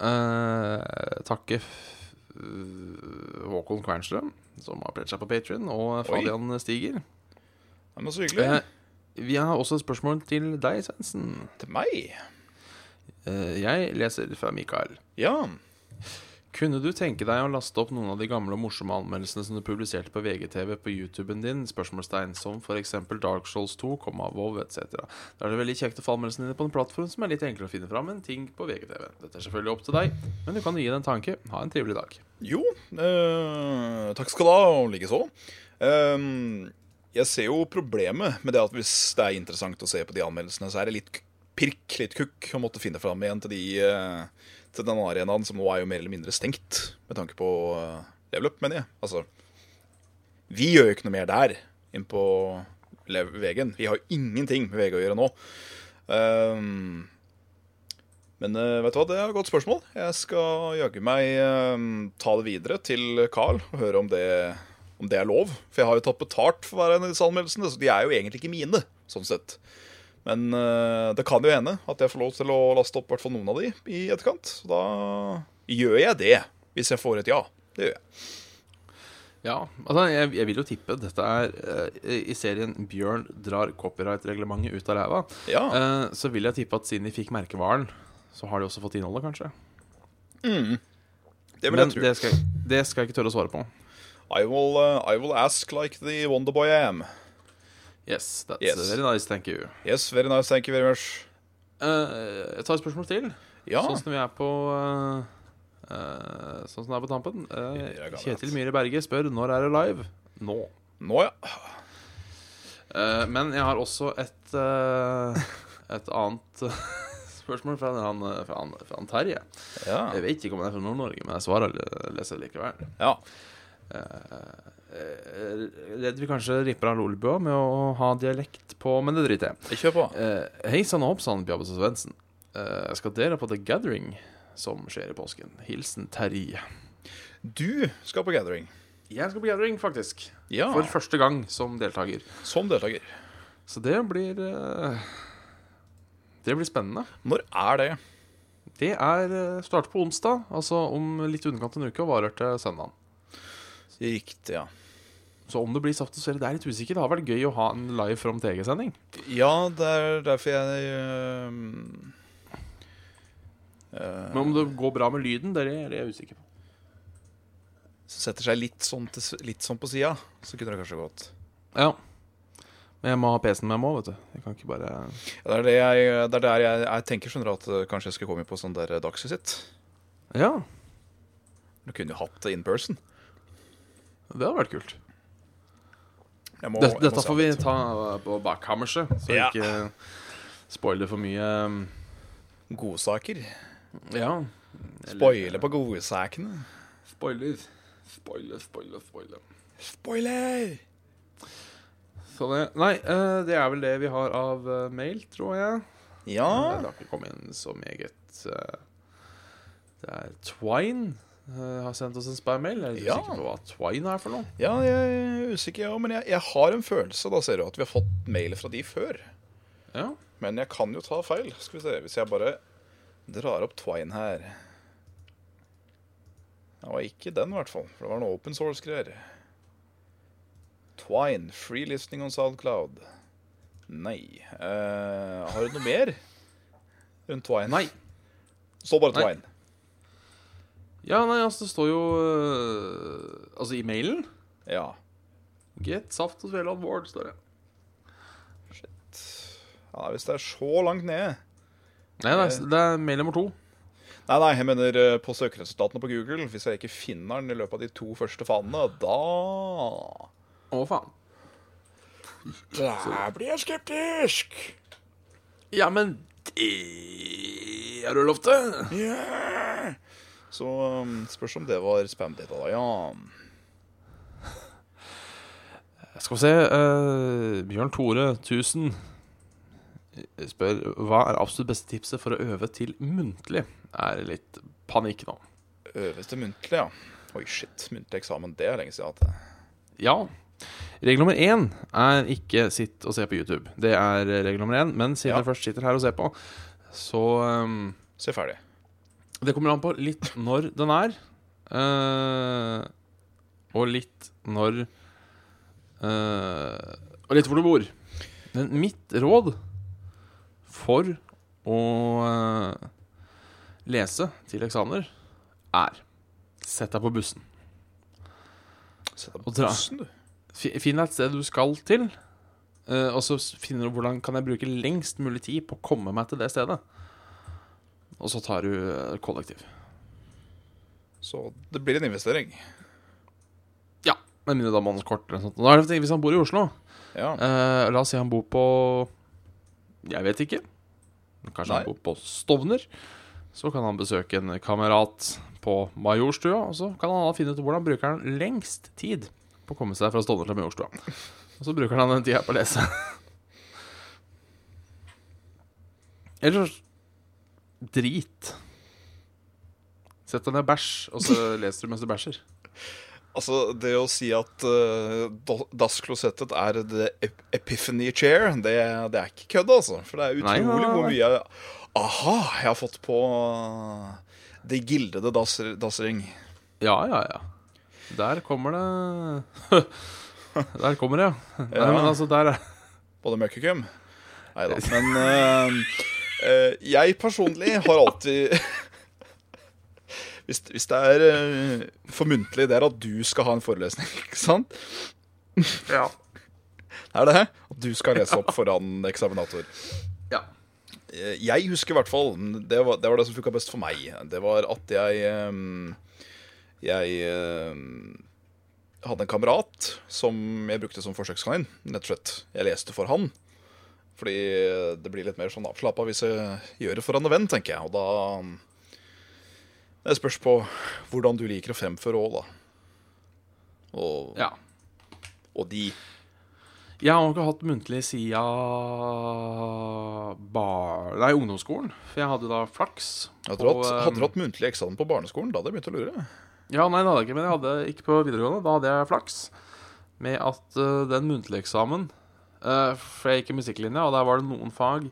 A: eh, takke f- eh, Håkon Kvernstrøm, som har pledget seg på Patron, og Fabian Stiger.
B: Det var så hyggelig.
A: Eh, vi har også et spørsmål til deg, Svendsen.
B: Til meg?
A: Eh, jeg leser fra Mikael.
B: Ja.
A: Kunne du tenke deg å laste opp noen av de gamle og morsomme anmeldelsene som du publiserte på VGTV på YouTuben din, spørsmålstegn, som f.eks. Dark Souls 2, komma, WoW etc. Da er det veldig kjekt å få anmeldelsene dine på en plattform som er litt enklere å finne fram enn ting på VGTV. Dette er selvfølgelig opp til deg, men du kan jo gi det en tanke. Ha en trivelig dag.
B: Jo, eh, takk skal du ha, og likeså. Ehm, jeg ser jo problemet med det at hvis det er interessant å se på de anmeldelsene, så er det litt k- pirk, litt kukk, å måtte finne fram igjen til, de, eh, til den arenaen som nå er jo mer eller mindre stengt, med tanke på uh, level up, mener jeg. Altså, vi gjør jo ikke noe mer der inn på lev- VG-en. Vi har jo ingenting med VG å gjøre nå. Ehm, men eh, vet du hva, det er et godt spørsmål. Jeg skal jaggu meg eh, ta det videre til Carl og høre om det, om det er lov. For jeg har jo tatt betalt for hver en av disse anmeldelsene, så de er jo egentlig ikke mine. sånn sett. Men eh, det kan jo hende at jeg får lov til å laste opp hvertfall noen av de i etterkant. Så da gjør jeg det, hvis jeg får et ja. Det gjør jeg.
A: Ja, altså jeg, jeg vil jo tippe dette er eh, I serien 'Bjørn drar copyright-reglementet ut av ræva',
B: Ja,
A: eh, så vil jeg tippe at siden de fikk merkevaren, så har de også fått innholdet, kanskje.
B: det vil
A: Men
B: jeg tro.
A: det skal, jeg- det skal jeg ikke tørre å svare på.
B: I, will, eh, I will ask like the wonderboy I am.
A: Yes, that's
B: Yes.
A: very nice, thank you.
B: Yes, very nice, thank you very much.
A: Eh, jeg tar et spørsmål til,
B: Ja,
A: sånn som vi er på eh, eh, Sånn som det er på tampen. Eh,
B: Ja, gammelt.
A: Kjetil Myhre Berge spør når er det live. Nå.
B: nå ja.
A: Eh, men jeg har også et eh, Et annet spørsmål fra han, eh, fra han, fra han Terje.
B: Ja.
A: Jeg vet ikke om han er fra Nord-Norge, men jeg svarer eller leser likevel.
B: ja.
A: Eh, Redd vi kanskje ripper av Lolbua med å ha dialekt på, men det driter jeg i.
B: Kjør på.
A: Eh, Hei sann og hopp sann, Bjabbes og Svendsen. Eh, jeg skal dele på The Gathering som skjer i påsken. Hilsen Terje.
B: Du skal på gathering.
A: Jeg skal på gathering, faktisk.
B: Ja,
A: For første gang som deltaker.
B: som deltaker.
A: Så det blir eh, Det blir spennende.
B: Når er det?
A: Det er eh, start på onsdag, altså om litt underkant av en uke, og varer til søndagen.
B: Riktig, ja.
A: Så om det blir saft og svele, det er litt usikkert. Det har vært gøy å ha en live from TG-sending.
B: Ja, det er derfor jeg eh, øhm, øh,
A: Men om det går bra med lyden, det er det er jeg usikker på.
B: Setter seg litt sånn, til, s- litt sånn på sida, så kunne det kanskje gått.
A: Ja. Men jeg må ha PC-en med meg òg, vet du. Jeg kan ikke bare
B: Ja, det er det jeg, det er der jeg, jeg tenker, skjønner du, at øh, kanskje jeg skulle komme på sånn der øh, dagsvisitt.
A: Ja.
B: Du kunne jo hatt det in person.
A: Det hadde vært kult.
B: Jeg må-
A: Det,
B: jeg må
A: dette
B: se
A: får
B: an
A: vi
B: litt.
A: ta eh, på bakkammerset, så
B: Ja.
A: ikke spoile for mye. um,
B: Godsaker.
A: Ja.
B: Spoile på godsakene.
A: Spoiler. Spoiler, spoiler, spoiler.
B: Spoiler!
A: Så det, nei, eh, det er vel det vi har av eh, mail, tror jeg.
B: Ja.
A: Det har ikke kommet inn så meget. eh, Det er Twine eh, har sendt oss en spam-mail. Jeg er litt
B: Ja.
A: usikker på hva Twine er for noe.
B: Ja, jeg er usikker, jeg òg, men jeg, jeg har en følelse da, ser du, at vi har fått mail fra de før.
A: Ja.
B: Men jeg kan jo ta feil. Skal vi se, Hvis jeg bare drar opp Twine her Det var ikke den, i hvert fall. For det var noe open source-greier. Twine, free listening on SoundCloud. Nei. Eh, har du noe mer rundt Twine?
A: Nei.
B: Det står bare
A: Nei.
B: Twine.
A: Ja, nei, altså, det står jo eh, Altså, i mailen
B: Ja.
A: Get saft og svele on board, står det.
B: ja. Hvis det er så langt nede
A: Nei, det
B: Eh.
A: er, det er mail nummer to.
B: Nei, nei, jeg mener eh, på søkeresultatene på Google. Hvis jeg ikke finner den i løpet av de to første fanene, da
A: Å, faen.
B: Da blir jeg skeptisk.
A: Ja, men det er du lov til?
B: Yeah. Så um, spørs om det var spam-data, da. Ja.
A: Skal vi se eh, Bjørn Tore 1000 spør hva er absolutt beste tipset for å øve til muntlig. Er litt panikk nå.
B: Øvelse muntlig, ja. Oi, shit. Muntlig eksamen, det er lenge siden eh, jeg har hatt det.
A: Ja. Regel nummer én er ikke sitt og se på YouTube. Det er regel nummer én. Men siden
B: Ja.
A: jeg først sitter her og ser på, så eh,
B: Se ferdig.
A: Det kommer an på litt når den er, eh, og litt når eh, Og litt hvor du bor. Men mitt råd for å eh, lese til eksamener er Sett deg på bussen.
B: Sett deg
A: Og
B: på
A: dra.
B: bussen, du.
A: Fi- Finn deg et sted du skal til, eh, og så s- finner du hvordan kan jeg bruke lengst mulig tid på å komme meg til det stedet. Og så tar du eh, kollektiv.
B: Så det blir en investering.
A: Ja, med mindre da månedskort eller noe sånt. Nå er det for eksempel Hvis han bor i Oslo,
B: Ja.
A: eh, la oss si han bor på Jeg vet ikke. Kanskje han
B: Nei.
A: bor på Stovner. Så kan han besøke en kamerat på Majorstua, og så kan han da finne ut hvordan bruker han lengst tid på å komme seg fra Stovner til Majorstua. Og så bruker han den tida på å lese. Eller drit. Sett deg ned og bæsj, og så leser du mens du bæsjer.
B: Altså, det å si at uh, dassklosettet er the ep- epiphany chair, det, det er ikke kødd, altså. For det er
A: Nei,
B: utrolig
A: nei, nei,
B: hvor
A: nei.
B: mye jeg, Aha, jeg har fått på eh, det gildede dass, dassring.
A: Ja, ja, ja. Der kommer det Der kommer det, ja. Nei,
B: Ja.
A: men altså, der er
B: Både møkkekum Nei da. Men eh, eh, jeg personlig har alltid hvis, hvis det er uh, formyntlig, det er at du skal ha en forelesning, ikke sant?
A: Ja.
B: Er det det? At du skal lese opp foran eksaminator.
A: ja.
B: Eh, Jeg husker i hvert fall Det var det, var det som funka best for meg. Det var at jeg ehm, Jeg ehm, hadde en kamerat som jeg brukte som forsøkskanin, rett og slett. Jeg leste for han. Fordi det blir litt mer sånn avslappa hvis jeg gjør det foran en venn, tenker jeg. Og da ehm, Det spørs på hvordan du liker å fremføre òg, da. Og,
A: ja.
B: og de
A: Jeg har ikke hatt muntlig sida bar... Nei, ungdomsskolen. For jeg hadde da flaks.
B: Hadde du hatt,
A: Og,
B: hadde du
A: eh,
B: hatt muntlig eksamen på barneskolen? Da hadde jeg begynt å lure.
A: Ja, nei, det hadde jeg ikke, men jeg hadde ikke på videregående. Da hadde jeg flaks med at eh, den muntlige eksamen eh, For jeg gikk i musikklinja, og der var det noen fag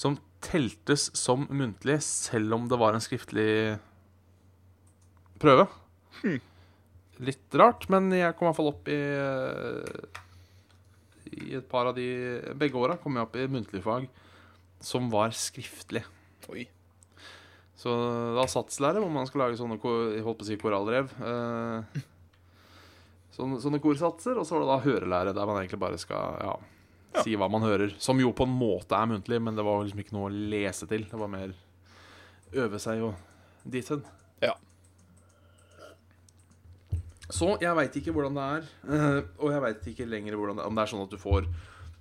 A: som teltes som muntlig selv om det var en skriftlig prøve. Litt rart, men jeg kom i hvert fall opp i eh, I et par av de Begge åra kom jeg opp i muntlig fag som var skriftlig.
B: Oi.
A: Så da satslære hvor man skal lage sånne ko- jeg holdt på å si korallrev. Eh, sånne, sånne korsatser. Og så var det da hørelære, der man egentlig bare skal ja,
B: Ja.
A: si hva man hører. Som jo på en måte er muntlig, men det var jo liksom ikke noe å lese til. Det var mer øve seg og dit hen.
B: Ja.
A: Så jeg veit ikke hvordan det er, eh, og jeg veit ikke lenger hvordan det, om det er sånn at du får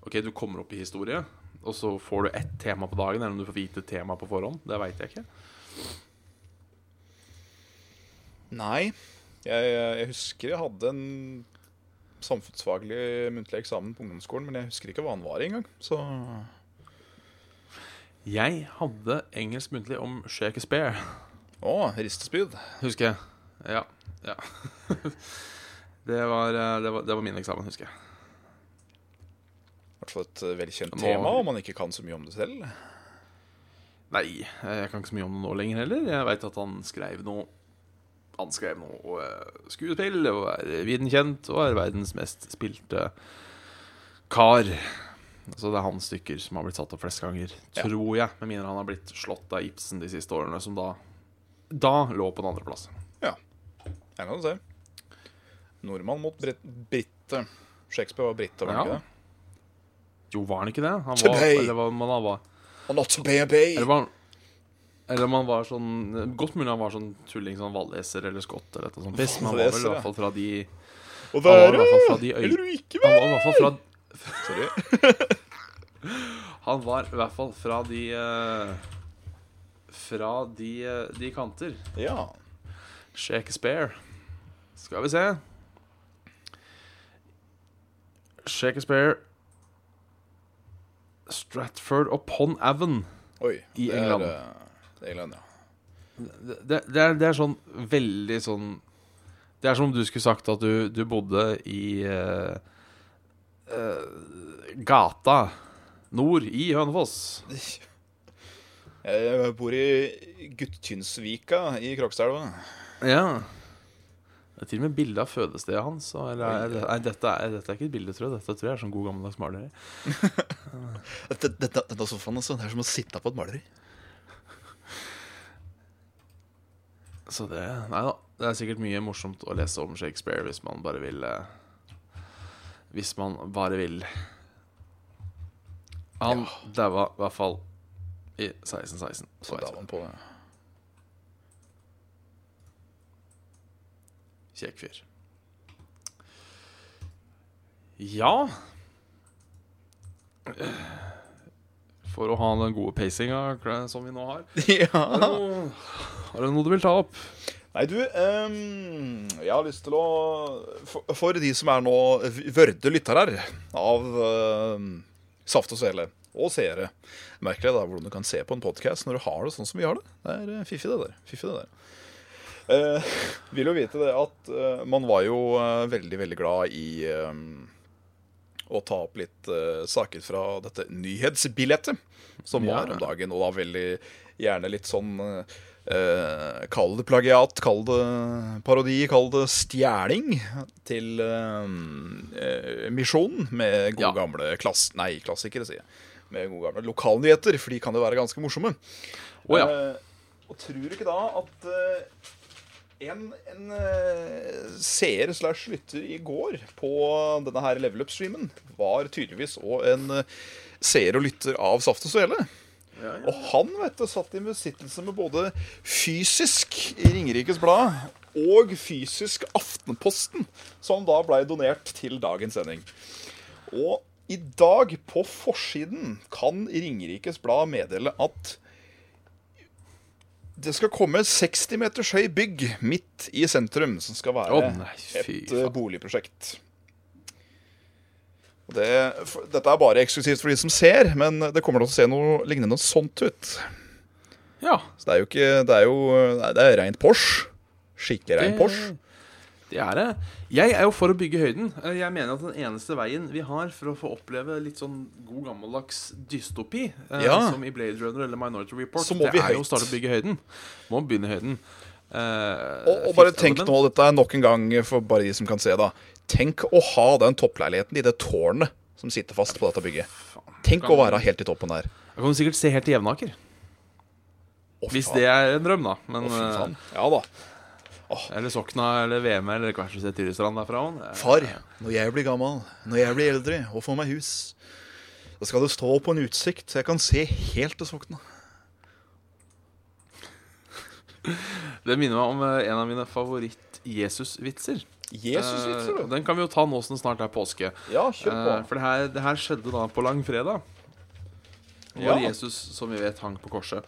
A: Ok, du kommer opp i historie, og så får du ett tema på dagen, eller om du får vite tema på forhånd. Det veit jeg ikke.
B: Nei. Jeg, jeg husker jeg hadde en samfunnsfaglig muntlig eksamen på ungdomsskolen, men jeg husker ikke hva den var engang. Så Å,
A: Jeg hadde engelsk muntlig om Shakespeare,
B: ristespyd.
A: husker jeg. Ja. ja. det, var, eh, det, var, det var min eksamen, husker jeg.
B: I hvert fall et velkjent
A: Nå-
B: tema, og man ikke kan så mye om det selv.
A: Nei, eh, jeg kan ikke så mye om det nå lenger heller. Jeg veit at han skrev noe. Han skrev noe og, eh, skuespill og er viden kjent og er verdens mest spilte kar. Så det er hans stykker som har blitt satt opp flest ganger,
B: Ja.
A: tror jeg. Med mindre han har blitt slått av Ibsen de siste årene, som da, da lå på en andreplass.
B: Jeg kan se. Nordmann mot brit brite. Shakespeare var brite, var han
A: Ja.
B: ikke det?
A: Jo, var han ikke det? Han var,
B: Today.
A: eller var, man var
B: Og not to baby!
A: Eller var han eller om han var sånn Godt mulig han var sånn tulling, sånn valleser eller skott eller noe sånt. piss, Men han var vel i
B: Valleser, ja.
A: hvert fall fra de
B: Og
A: Han var i
B: være!
A: hvert fall fra de øy-
B: Eller du ikke
A: Han
B: være!
A: var i hvert fall fra
B: Sorry.
A: Han var i hvert fall fra de eh, Fra de, eh, de kanter.
B: Ja.
A: Shakespeare. Skal vi se Shakespeare Stratford upon Avon.
B: Oi.
A: I
B: det er,
A: England.
B: eh, England, ja.
A: det, det, er, det er sånn veldig sånn Det er som om du skulle sagt at du, du bodde i eh, eh, gata nord i Hønefoss.
B: Jeg bor i Guttynsvika i Krokstadelva.
A: Ja. Det er til og med bilde av fødestedet hans. og- Eller,
B: Oi.
A: er det- nei, dette, er, dette er ikke et bilde, tror jeg. Dette tror jeg er sånn god gammeldags maleri.
B: Dette, dette, denne sofaen altså, det er som å sitte på et maleri.
A: Så det Nei da. Det er sikkert mye morsomt å lese om Shakespeare hvis man bare vil eh, Hvis man bare vil. Han daua i hvert fall i 1616.
B: Så da var han på
A: Kjekk fyr. Ja For å ha den gode pacinga som vi nå har. Har du
B: Ja.
A: noe, har du noe du vil ta opp?
B: Nei, du, ehm, jeg har lyst til å For, for de som er nå vørde lyttere av ehm, Saft og Svele og seere Merkelig da hvordan du kan se på en podkast når du har det sånn som vi har det. Det er eh, fiffig, det der. Fiffig, det der. Eh, vil jo vite det at eh, man var jo eh, veldig, veldig glad i ehm, å ta opp litt eh, saker fra dette nyhetsbillettet som
A: Ja.
B: var om dagen. Og da veldig gjerne litt sånn eh, Kall det plagiat, kall det parodi, kall det stjeling til eh, eh, Misjonen med gode
A: Ja.
B: gamle klass... Nei, klassikere, sier jeg. Med gode gamle lokalnyheter, for de kan jo være ganske morsomme.
A: Å ja.
B: Eh, og tror du ikke da at eh, en, en eh, seer slash lytter i går på denne her level up-streamen var tydeligvis òg en eh, seer og lytter av Saft og Svele? Og han vet du, satt i besittelse med både fysisk i Ringerikes Blad og fysisk Aftenposten, som da blei donert til dagens sending. Og i dag, på forsiden, kan Ringerikes Blad meddele at det skal komme 60 meters høy bygg midt i sentrum, som skal være
A: Å, nei, fy
B: et eh,
A: faen.
B: boligprosjekt. Og Det, for, dette er bare eksklusivt for de som ser, men det kommer til å se noe lignende sånt ut.
A: ja.
B: Så det er jo ikke Det er jo nei, det er rent Porsche. Skikkelig reint Porsche.
A: Det er det. Jeg er jo for å bygge høyden. Eh, Jeg mener at den eneste veien vi har for å få oppleve litt sånn god gammeldags dystopi, eh,
B: Ja.
A: som i Blade Runner eller Minority Report,
B: Så må
A: det
B: vi
A: er jo
B: høyt.
A: å starte å bygge høyden. Må begynne i høyden. Eh,
B: Og, og bare
A: fifth
B: tenk
A: element.
B: nå, dette er nok en gang for bare de som kan se, da. Tenk å ha den toppleiligheten i det tårnet som sitter fast på dette bygget. Tenk å være helt i toppen der.
A: Da kan du sikkert se helt til Jevnaker.
B: Å,
A: Hvis
B: faen.
A: det er en drøm, da. Men,
B: Å, fy faen.
A: eh,
B: Ja da.
A: eller Sokna eller VM eller kanskje se Tyristrand derfra Eh, òg.
B: Far, når jeg blir gammel, når jeg blir eldre og får meg hus, da skal det stå på en utsikt så jeg kan se helt til Sokna.
A: Det minner meg om eh, en av mine favoritt-Jesus-vitser. Eh, og den kan vi jo ta nå som det snart er påske.
B: Ja, kjør på.
A: Eh, for det her, det her skjedde da på langfredag. Hvor
B: Ja.
A: Jesus, som vi vet, hang på korset.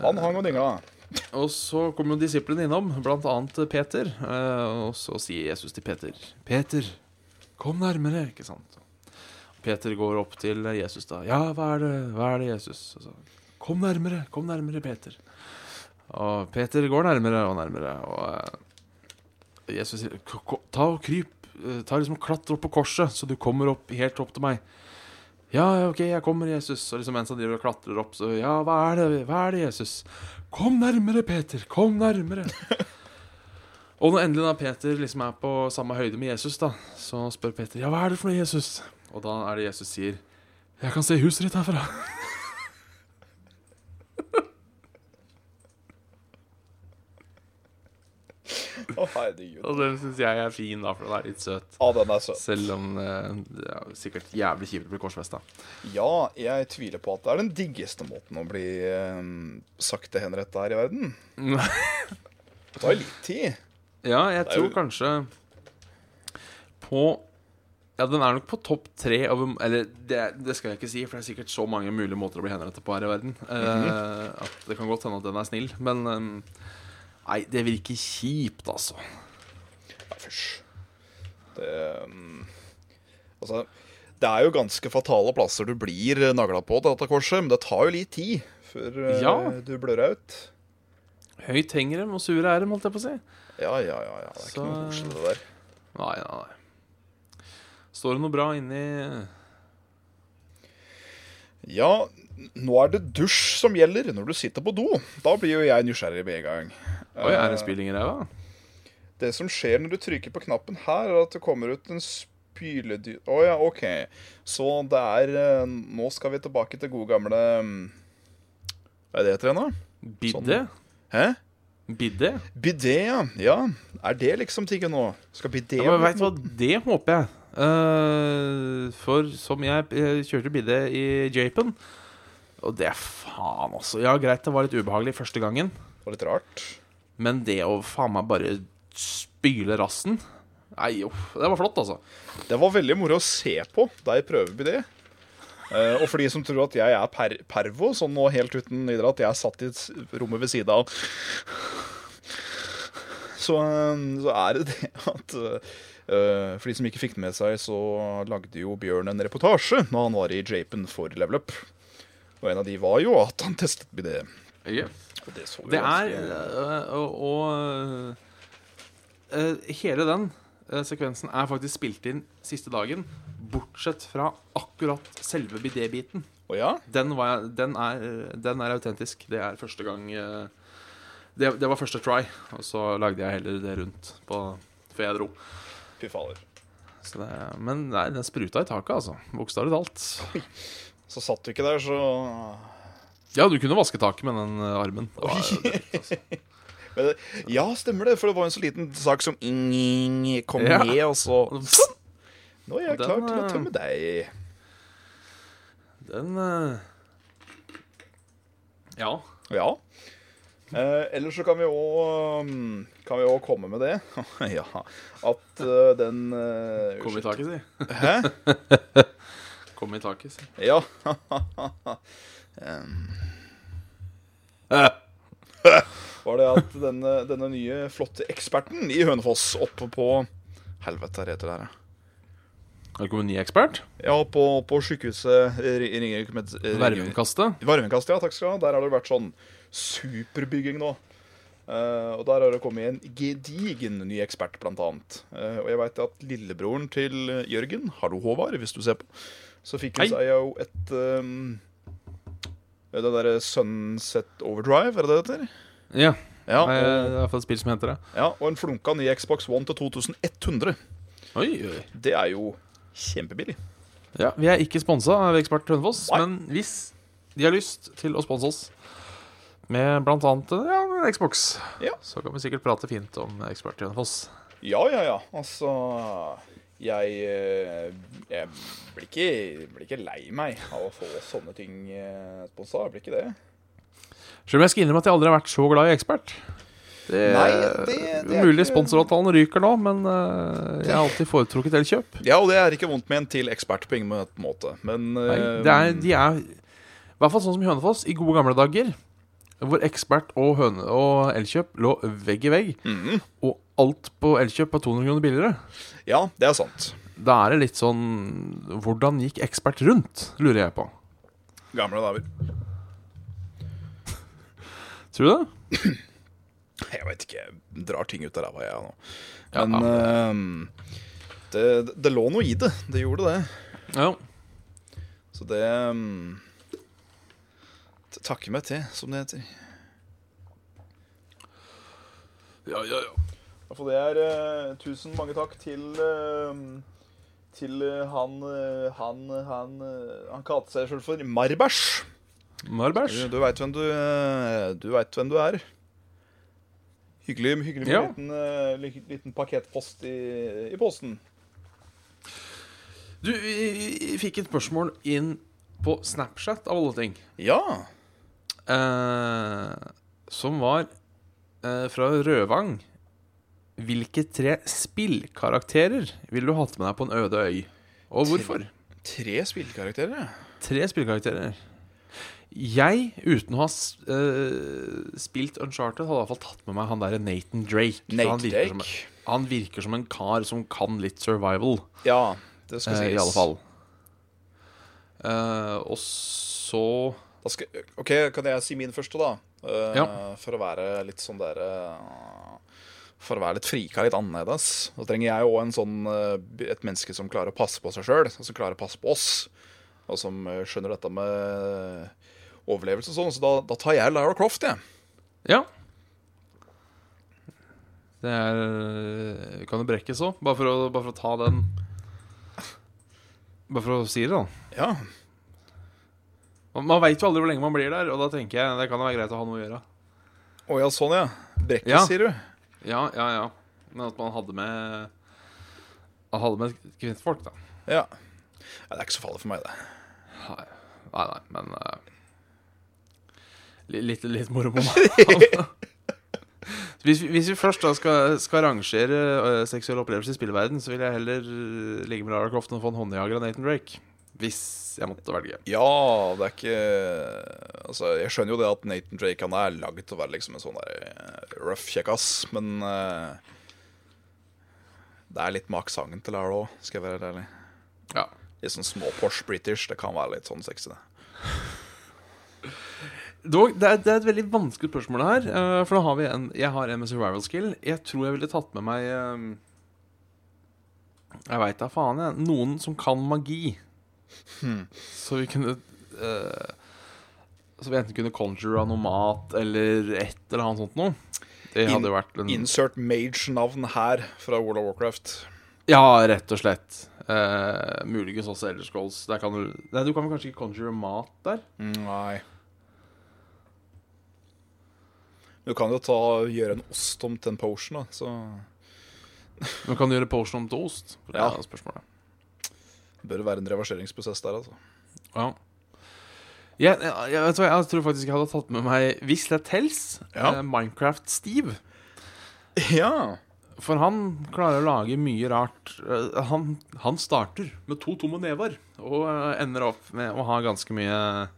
B: Han hang og dingla.
A: Og så kom jo disiplene innom, blant annet Peter. eh, Og så sier Jesus til Peter Peter, kom nærmere, ikke sant? Peter går opp til Jesus da. Ja, hva er det, hva er det Jesus? Og så, kom nærmere, kom nærmere, Peter. Og Peter går nærmere og nærmere, og eh, Jesus sier, "K- k- ta og kryp, eh, ta liksom og klatre opp på korset, så du kommer opp helt opp til meg. Ja, ja, ok, jeg kommer, Jesus. Og liksom mens han driver og klatrer opp, så Ja, hva er det, hva er det Jesus? Kom nærmere, Peter, kom nærmere. og når endelig da Peter liksom er på samme høyde med Jesus, da, så spør Peter Ja, hva er det for noe, Jesus? Og da er det Jesus sier Jeg kan se huset ditt herfra.
B: Å, herregud.
A: Og den syns jeg er fin, da, for den er litt søt.
B: Ja, den er søt.
A: Selv om eh, det er sikkert jævlig kjipt å bli korsfesta.
B: Ja, jeg tviler på at det er den diggeste måten å bli eh, sakte henrettet her i verden. Det tar litt tid.
A: Ja, jeg
B: er jo-
A: tror kanskje på Ja, den er nok på topp tre over Eller det, det skal jeg ikke si, for det er sikkert så mange mulige måter å bli henrettet på her i verden. eh,
B: Mhm.
A: at det kan godt hende at den er snill, men eh, Nei, det virker kjipt, altså.
B: Nei, fysj. Det mm, Altså, det er jo ganske fatale plasser du blir nagla på til dette korset, men det tar jo litt tid før eh,
A: Ja.
B: du blør ut.
A: Høyt henger dem, og sure er dem, holdt jeg på å si.
B: Ja, ja, ja. ja. Det er
A: Så-
B: ikke noe koselig, det der.
A: Nei, nei, nei. Står det noe bra inni
B: Ja, nå er det dusj som gjelder når du sitter på do. Da blir jo jeg nysgjerrig med en gang.
A: Oi, er det en
B: Eh,
A: spilling i ræva?
B: Det som skjer når du trykker på knappen her, er at det kommer ut en spyledyr... Å ja, OK. Så det er eh, Nå skal vi tilbake til gode gamle mm, Hva er det heter igjen, da?
A: Bidde?
B: Hæ?
A: Bidde?
B: Bidé, ja. ja. Er det liksom tinget nå? Skal bidé
A: Ja, men vet du hva, det håper jeg. Eh, for som jeg, jeg kjørte bidde i Japen Og det er faen også. Ja, greit, det var litt ubehagelig første gangen.
B: Det var litt rart.
A: Men det å faen meg bare spyle rassen Nei, uff. Det var flott, altså.
B: Det var veldig moro å se på deg prøve bidé. Eh, og for de som tror at jeg er per pervo, sånn nå helt uten videre at jeg satt i s- rommet ved sida av så, eh, så er det det at eh, For de som ikke fikk det med seg, så lagde jo Bjørn en reportasje når han var i Japen for Level Up. Og en av de var jo at han testet bidé. Og det så jo
A: Det er
B: ganske-
A: øh, Og, og øh, hele den øh, sekvensen er faktisk spilt inn siste dagen, bortsett fra akkurat selve bidé-biten.
B: Å ja?
A: Den, var jeg- den, er, øh, den er autentisk. Det er første gang øh, det, det var første try, og så lagde jeg heller det rundt på, før jeg dro.
B: Fy fader.
A: Så det, men nei, den spruta i taket, altså. Bokstavelig talt.
B: Så satt du ikke der, så
A: Ja, du kunne vaske taket med den øh, armen. Det var, dritt, altså.
B: Men, det- ja, stemmer det, for det var jo en så liten sak som ing, ing, ing, kom
A: Ja.
B: ned, og så
A: Og
B: Nå er jeg
A: Den,
B: klar til å
A: eh,
B: tømme deg.
A: Den øh, Ja.
B: Ja. Eh, ellers så kan vi òg Kan vi òg komme med det. ja. At eh, den eh,
A: Kom i taket, si.
B: Hæ?
A: Kom i taket, si.
B: Ja. Em,
A: Eh,
B: var det at denne, denne nye, flotte eksperten i Hønefoss oppe på Helvete, hva heter det her? ja?
A: Har det kommet en ny ekspert?
B: Ja, på, på sykehuset eh, Ri- Ringerike med Ringerike-
A: Vervekastet?
B: Varmekast, ja, takk skal du ha. Der har det vært sånn superbygging nå. Eh, og der har det kommet en gedigen ny ekspert, blant annet. Eh, og jeg veit at lillebroren til Jørgen, hallo Håvard, hvis du ser på, så fikk
A: Hei.
B: hun seg jo et um, Det derre Sunset Overdrive, er det det heter?
A: Ja.
B: Ja,
A: Nei,
B: og,
A: det er iallfall et spill som heter det.
B: ja, og en flunka ny Xbox One til 2100.
A: Oi, oi.
B: Det er jo kjempebillig.
A: Ja, vi er ikke sponsa av Ekspert Hønefoss,
B: Nei.
A: men hvis de har lyst til å sponse oss med blant annet ja, med Xbox,
B: Ja.
A: så kan vi sikkert prate fint om Ekspert Hønefoss.
B: Ja, ja, ja. Altså Jeg, eh, jeg blir, ikke, blir ikke lei meg av å få sånne ting eh, sponsa. Jeg Blir ikke det?
A: Selv om jeg skal innrømme at jeg aldri har vært så glad i Ekspert. Det,
B: Nei, det- det er
A: Mulig
B: ikke-
A: sponsoravtalen ryker nå, men eh, jeg har alltid foretrukket Elkjøp.
B: Ja, og det er ikke vondt med en til ekspert på ingen måte, men eh,
A: Nei, det er, de er I hvert fall sånn som Hønefoss i gode gamle dager. Hvor ekspert og, høne, og Elkjøp lå vegg i vegg.
B: mm,
A: Og alt på Elkjøp er 200 kroner billigere.
B: Ja, det er sant.
A: Da er det litt sånn Hvordan gikk ekspert rundt, lurer jeg på.
B: Gamle dager.
A: Tror du det?
B: Jeg veit ikke. Jeg drar ting ut av ræva, jeg nå.
A: Ja,
B: Men eh, det, det lå noe i det. Det gjorde det.
A: Ja.
B: Så det um, Takker meg til, som det heter.
A: Ja, ja, ja.
B: For det er eh, tusen mange takk til eh, Til eh, han eh, Han, han, eh, han kalte seg selv for Marbæsj. Du,
A: Marbæsj.
B: du veit hvem du eh, Du vet hvem du er. Hyggelig, hyggelig med
A: Ja.
B: en liten, eh, lik- liten pakettpost i, i posten.
A: Du, vi vi fikk et spørsmål inn på Snapchat, av alle ting.
B: Ja.
A: Eh, som var eh, fra Rødvang. Hvilke tre spillkarakterer ville du hatt med deg på en øde øy? Og hvorfor?
B: Tre spillkarakterer, ja.
A: Tre spillkarakterer. Jeg, uten å ha s- eh, spilt Uncharted, hadde iallfall tatt med meg han derre Nathan Drake. for han,
B: Nate
A: virker som,
B: Drake.
A: han virker som en kar som kan litt survival,
B: Ja, det skal
A: eh,
B: sies.
A: i alle fall. Eh, og så
B: Da skal, ok, kan jeg si min første, da? Eh,
A: Ja.
B: For å være litt sånn der eh, For å være litt frika, litt annerledes. Så trenger jeg òg en sånn eh, et menneske som klarer å passe på seg sjøl, som klarer å passe på oss. Og som eh, skjønner dette med overlevelse og sånn. Så da, da tar jeg Lara Croft, jeg.
A: Ja. Det er eh, Kan det brekkes òg? Bare, for å- bare for å ta den Bare for å si det, da.
B: Ja.
A: Man, man veit jo aldri hvor lenge man blir der, og da tenker jeg det kan jo være greit å ha noe å gjøre.
B: Å ja, sånn ja. Brekke,
A: Ja.
B: sier du?
A: Ja, ja, ja. Men at man hadde med Man hadde med kvinnfolk, da.
B: Ja. ja. Det er ikke så farlig for meg, det.
A: Nei, nei, nei men eh, li- litt, litt moro på meg. Hvis vi, hvis vi først da skal, skal rangere eh, seksuelle opplevelser i spillverden, så vil jeg heller eh, ligge med Lara Croft enn å få en håndjager av Nathan Drake. Hvis jeg måtte velge.
B: Ja, det er ikke Altså, Jeg skjønner jo det at Nathan Drake han er lagd til å være liksom en sånn der eh, rough kjekkas, men eh, Det er litt med aksenten til her òg, skal jeg være helt ærlig.
A: Ja.
B: Litt sånn småposh british. Det kan være litt sånn sexy, det.
A: Dog, det, er, det er et veldig vanskelig spørsmål her. eh, for nå har vi en Jeg har en med survival skill. Jeg tror jeg ville tatt med meg eh, Jeg veit da faen, jeg. Noen som kan magi. Så vi kunne eh, Så vi enten kunne conjure av noe mat eller et eller annet sånt noe. Det
B: In-
A: hadde jo vært en
B: Insert mage-navn her fra World of Warcraft.
A: Ja, rett og slett. Eh, muligens også Elder Scrolls. Der kan du, nei, du kan vel kanskje ikke conjure mat der?
B: Mm, Nei. Du kan jo ta, gjøre en ost om til en potion, da. Så
A: Men kan du gjøre potion om til ost? Det er
B: Ja.
A: spørsmålet.
B: det bør være en reverseringsprosess der, altså.
A: Ja. Jeg, jeg, jeg, vet du hva, jeg tror faktisk jeg hadde tatt med meg, hvis det tels,
B: Ja.
A: eh, Minecraft-Steve.
B: Ja.
A: For han klarer å lage mye rart. Eh, Han, han starter med to tomme never og eh, ender opp med å ha ganske mye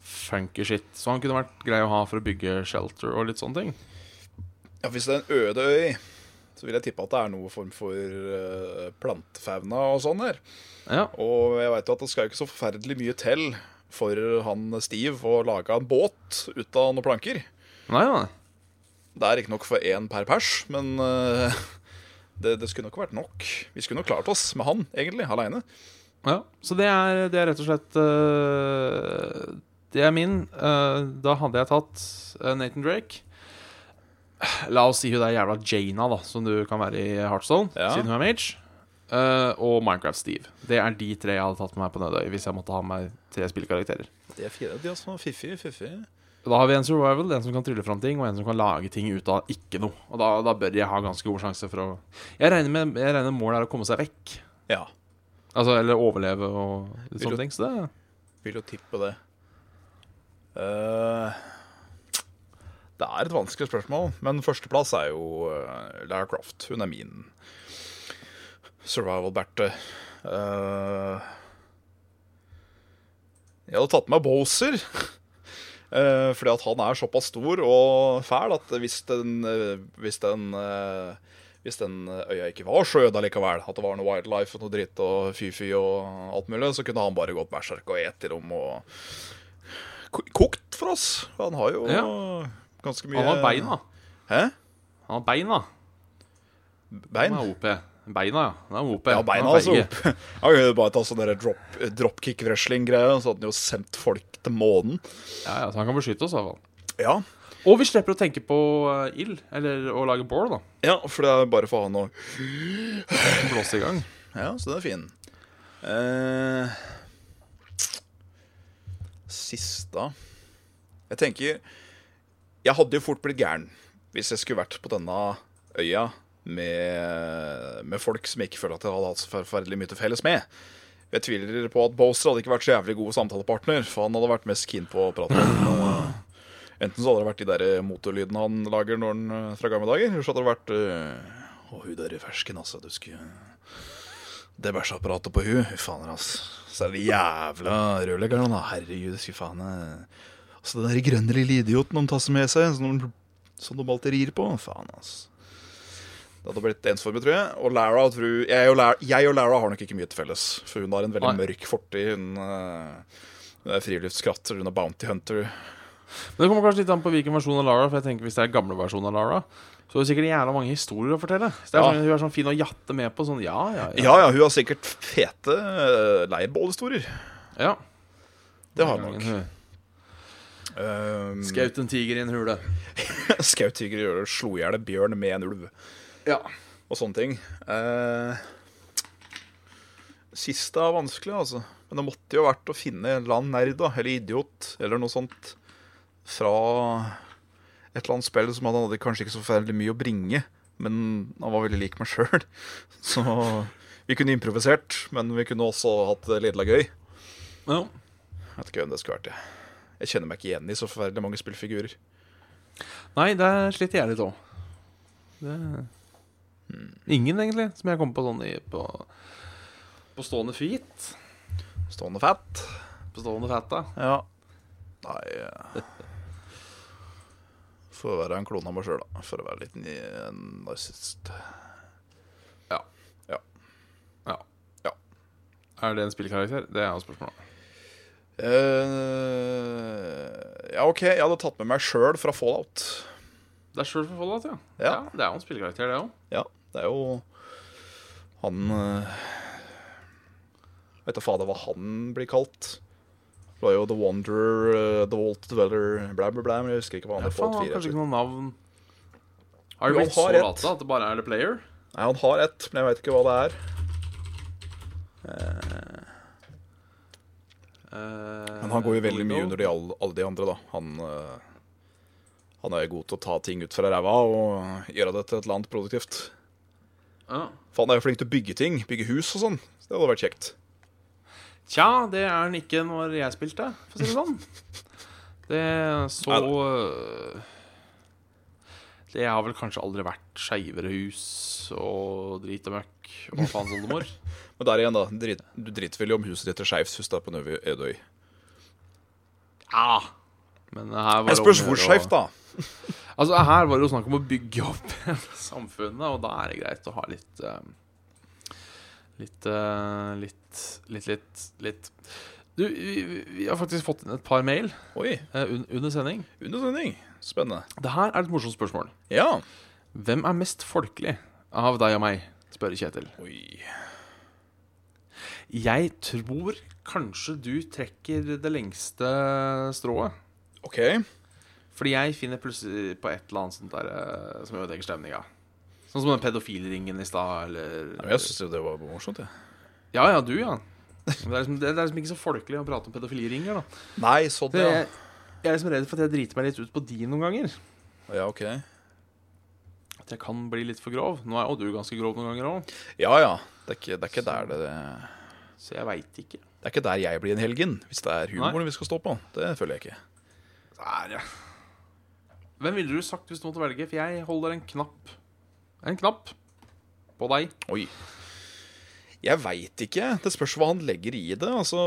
A: funky shit. Så han kunne vært grei å ha for å bygge shelter og litt sånne ting.
B: Ja, Hvis det er en øde øy, så vil jeg tippe at det er noe form for eh, plantefauna og sånn her.
A: Ja,
B: Og jeg veit jo at det skal jo ikke så forferdelig mye til for han Steve å lage en båt ut av noen planker.
A: nei, nei.
B: Det er riktignok for én per pers, men eh, det, det skulle nok vært nok. Vi skulle nok klart oss med han, egentlig, aleine.
A: Ja, så det er, det er rett og slett øh, Det er min. Øh, da hadde jeg tatt øh, Nathan Drake. La oss si hun der jævla Jana, da, som du kan være i Heartstone,
B: Ja.
A: siden hun er mage. Øh, og Minecraft Steve. Det er de tre jeg hadde tatt med meg på Nødøy hvis jeg måtte ha med meg tre spillkarakterer.
B: De er fire, de er sånn fiffige, fiffige.
A: Da har vi en survival, en som kan trylle fram ting, og en som kan lage ting ut av ikke noe. Og da, da bør jeg ha ganske god sjanse for å Jeg regner med jeg regner målet er å komme seg vekk.
B: Ja,
A: Altså, eller overleve og litt
B: Vil du-
A: sånne ting. Så det
B: vil jo tippe det. Eh, det er et vanskelig spørsmål, men førsteplass er jo eh, Lara Croft. Hun er min survival-berte. Eh, jeg hadde tatt med meg Bowser. eh, fordi at han er såpass stor og fæl at hvis den, eh, hvis den eh, hvis den øya ikke var så øde likevel, at det var noe wildlife og noe dritt og fy-fy og alt mulig, så kunne han bare gått berserk og et i dem og ko- kokt for oss. Han har jo ganske mye
A: Han har beina.
B: Hæ?
A: Han har beina. Han
B: Bein?
A: er OP. Beina, ja. Han er OP.
B: Ja,
A: Han
B: beina
A: er
B: altså.
A: feige.
B: opp. Han kunne bare ta sånn der drop, dropkick-wrestling-greie, så hadde han jo sendt folk til månen.
A: Ja, ja, så han kan beskytte oss, i hvert fall.
B: Ja.
A: Og vi slipper å tenke på eh, ild, eller å lage bål, da.
B: ja, for det er bare for han å
A: Blåse i gang.
B: Ja, så den er fin. Eh, siste Jeg tenker Jeg hadde jo fort blitt gæren hvis jeg skulle vært på denne øya med, med folk som jeg ikke føler at jeg hadde hatt så forferdelig mye til felles med. Jeg tviler på at Bowser hadde ikke vært så jævlig god samtalepartner, for han hadde vært mest keen på å prate om eh, Enten så hadde det vært de der eh, motorlydene han lager når han, eh, fra gamle dager, eller så hadde det vært eh, Å, hun der i fersken, altså. Du skulle det bæsjeapparatet på hun, fy faen ass. Så er det jævla rørleggerne, da. Herregud, fy faen. Og så den der grønne lille idioten de tar med seg, som de, som de alltid rir på. Faen, ass. Det hadde blitt ensformig, tror jeg. Og Lara, tror, jeg, og Lara, jeg og Lara har nok ikke mye til felles. For hun har en veldig
A: Nei.
B: mørk fortid. Hun, eh, hun er friluftskatter, hun er bounty hunter.
A: Men det kommer kanskje litt an på hvilken versjon av Lara, for jeg tenker hvis det er gamle versjon av Lara, så er det sikkert jævla mange historier å fortelle. Så det er
B: Ja.
A: sånn, Hun er sånn fin å jatte med på. Sånn ja, ja, ja.
B: Ja ja, hun har sikkert fete eh, leirbålhistorier.
A: ja.
B: Det har hun nok.
A: Hun
B: Um,
A: Skaut en tiger i en hule.
B: Skaut tiger i øret, slo i hjel en bjørn med en ulv.
A: Ja.
B: og sånne ting. Eh, siste er vanskelig, altså. Men det måtte jo vært å finne en eller annen nerd da, eller idiot eller noe sånt fra et eller annet spill som han hadde kanskje ikke så forferdelig mye å bringe, men han var veldig lik meg sjøl. Så vi kunne improvisert, men vi kunne også hatt det lidla gøy.
A: Ja.
B: Jeg vet ikke hvem det skulle vært. jeg. Jeg kjenner meg ikke igjen i så forferdelig mange spillfigurer.
A: Nei, der sliter jeg litt òg. Det...
B: Mm.
A: Ingen, egentlig, som jeg kommer på sånn i, på, på stående feet.
B: Stående fett.
A: På stående feta.
B: Ja. Nei eh, Får være en klone av meg sjøl, da. For å være litt ni- en narsissist.
A: Ja.
B: Ja.
A: Ja.
B: Ja.
A: Er det en spillkarakter? Det er jo spørsmålet.
B: Eh, ja, OK, jeg hadde tatt med meg sjøl fra Fallout.
A: Det er sjøl for Fallout, ja.
B: Ja.
A: Det er jo en spillkarakter, det òg.
B: Ja, det er jo Han eh, Vet da fader hva han blir kalt. Det var jo The Wanderer, eh, The Walt Dweller, bla, bla, bla. Men jeg husker ikke hva han
A: Ja,
B: er.
A: faen,
B: Fallout
A: han har
B: 4 er.
A: kanskje ikke noe navn. Har
B: Jo,
A: det blitt så
B: han har ett.
A: late at det bare er The Player?
B: Nei, han har ett, men jeg veit ikke hva det er.
A: Eh,
B: Men han går jo veldig mye under de, alle, alle de andre, da. Han, eh, han er jo god til å ta ting ut fra ræva og gjøre det til et eller annet produktivt.
A: ja.
B: For han er jo flink til å bygge ting. Bygge hus og sånn. Så Det hadde vært kjekt.
A: Tja, det er han ikke når jeg spilte, for å si det sånn. Det er så øh, Det har vel kanskje aldri vært skeivere hus og drit og møkk og hva faens oldemor.
B: Men der igjen, da. Drit, du driter vel i om huset ditt er skeivt hus der på Nøvøy Edøy.
A: Ja. Men her var
B: Jeg
A: det
B: spørs
A: om å
B: hvor
A: gjøre å-
B: skeivt, da.
A: Altså, her var det jo snakk om å bygge opp samfunnet, og da er det greit å ha litt eh, Litt, eh, litt, litt, litt, litt. Du, vi, vi- vi har faktisk fått inn et par mail
B: Oi,
A: eh, un under sending.
B: undersending. Spennende.
A: Det her er et morsomt spørsmål.
B: Ja.
A: Hvem er mest folkelig av deg og meg? spør Kjetil.
B: Oi.
A: Jeg tror kanskje du trekker det lengste strået.
B: OK.
A: Fordi jeg finner plutselig på et eller annet sånt der eh, som ødelegger stemninga. Sånn som den pedofilringen i stad,
B: Ja,
A: eller
B: Jeg syns det var morsomt, jeg.
A: Ja ja, du, ja. Men Det er, liksom, det er liksom ikke så folkelig å prate om pedofiliringer, da.
B: Nei, så
A: Så
B: det, ja.
A: jeg, jeg er liksom redd for at jeg driter meg litt ut på de noen ganger.
B: Ja, OK.
A: At jeg kan bli litt for grov. Nå er jo du ganske grov noen ganger òg,
B: Ja ja. Det er ikke, det er ikke der det Det
A: så jeg veit ikke.
B: er ikke der jeg blir en helgen, hvis det er humoren vi skal stå på. Det føler jeg ikke.
A: Der, ja. Hvem ville du sagt hvis du måtte velge? For jeg holder en knapp En knapp på deg.
B: Oi. Jeg veit ikke. Det spørs hva han legger i det. Altså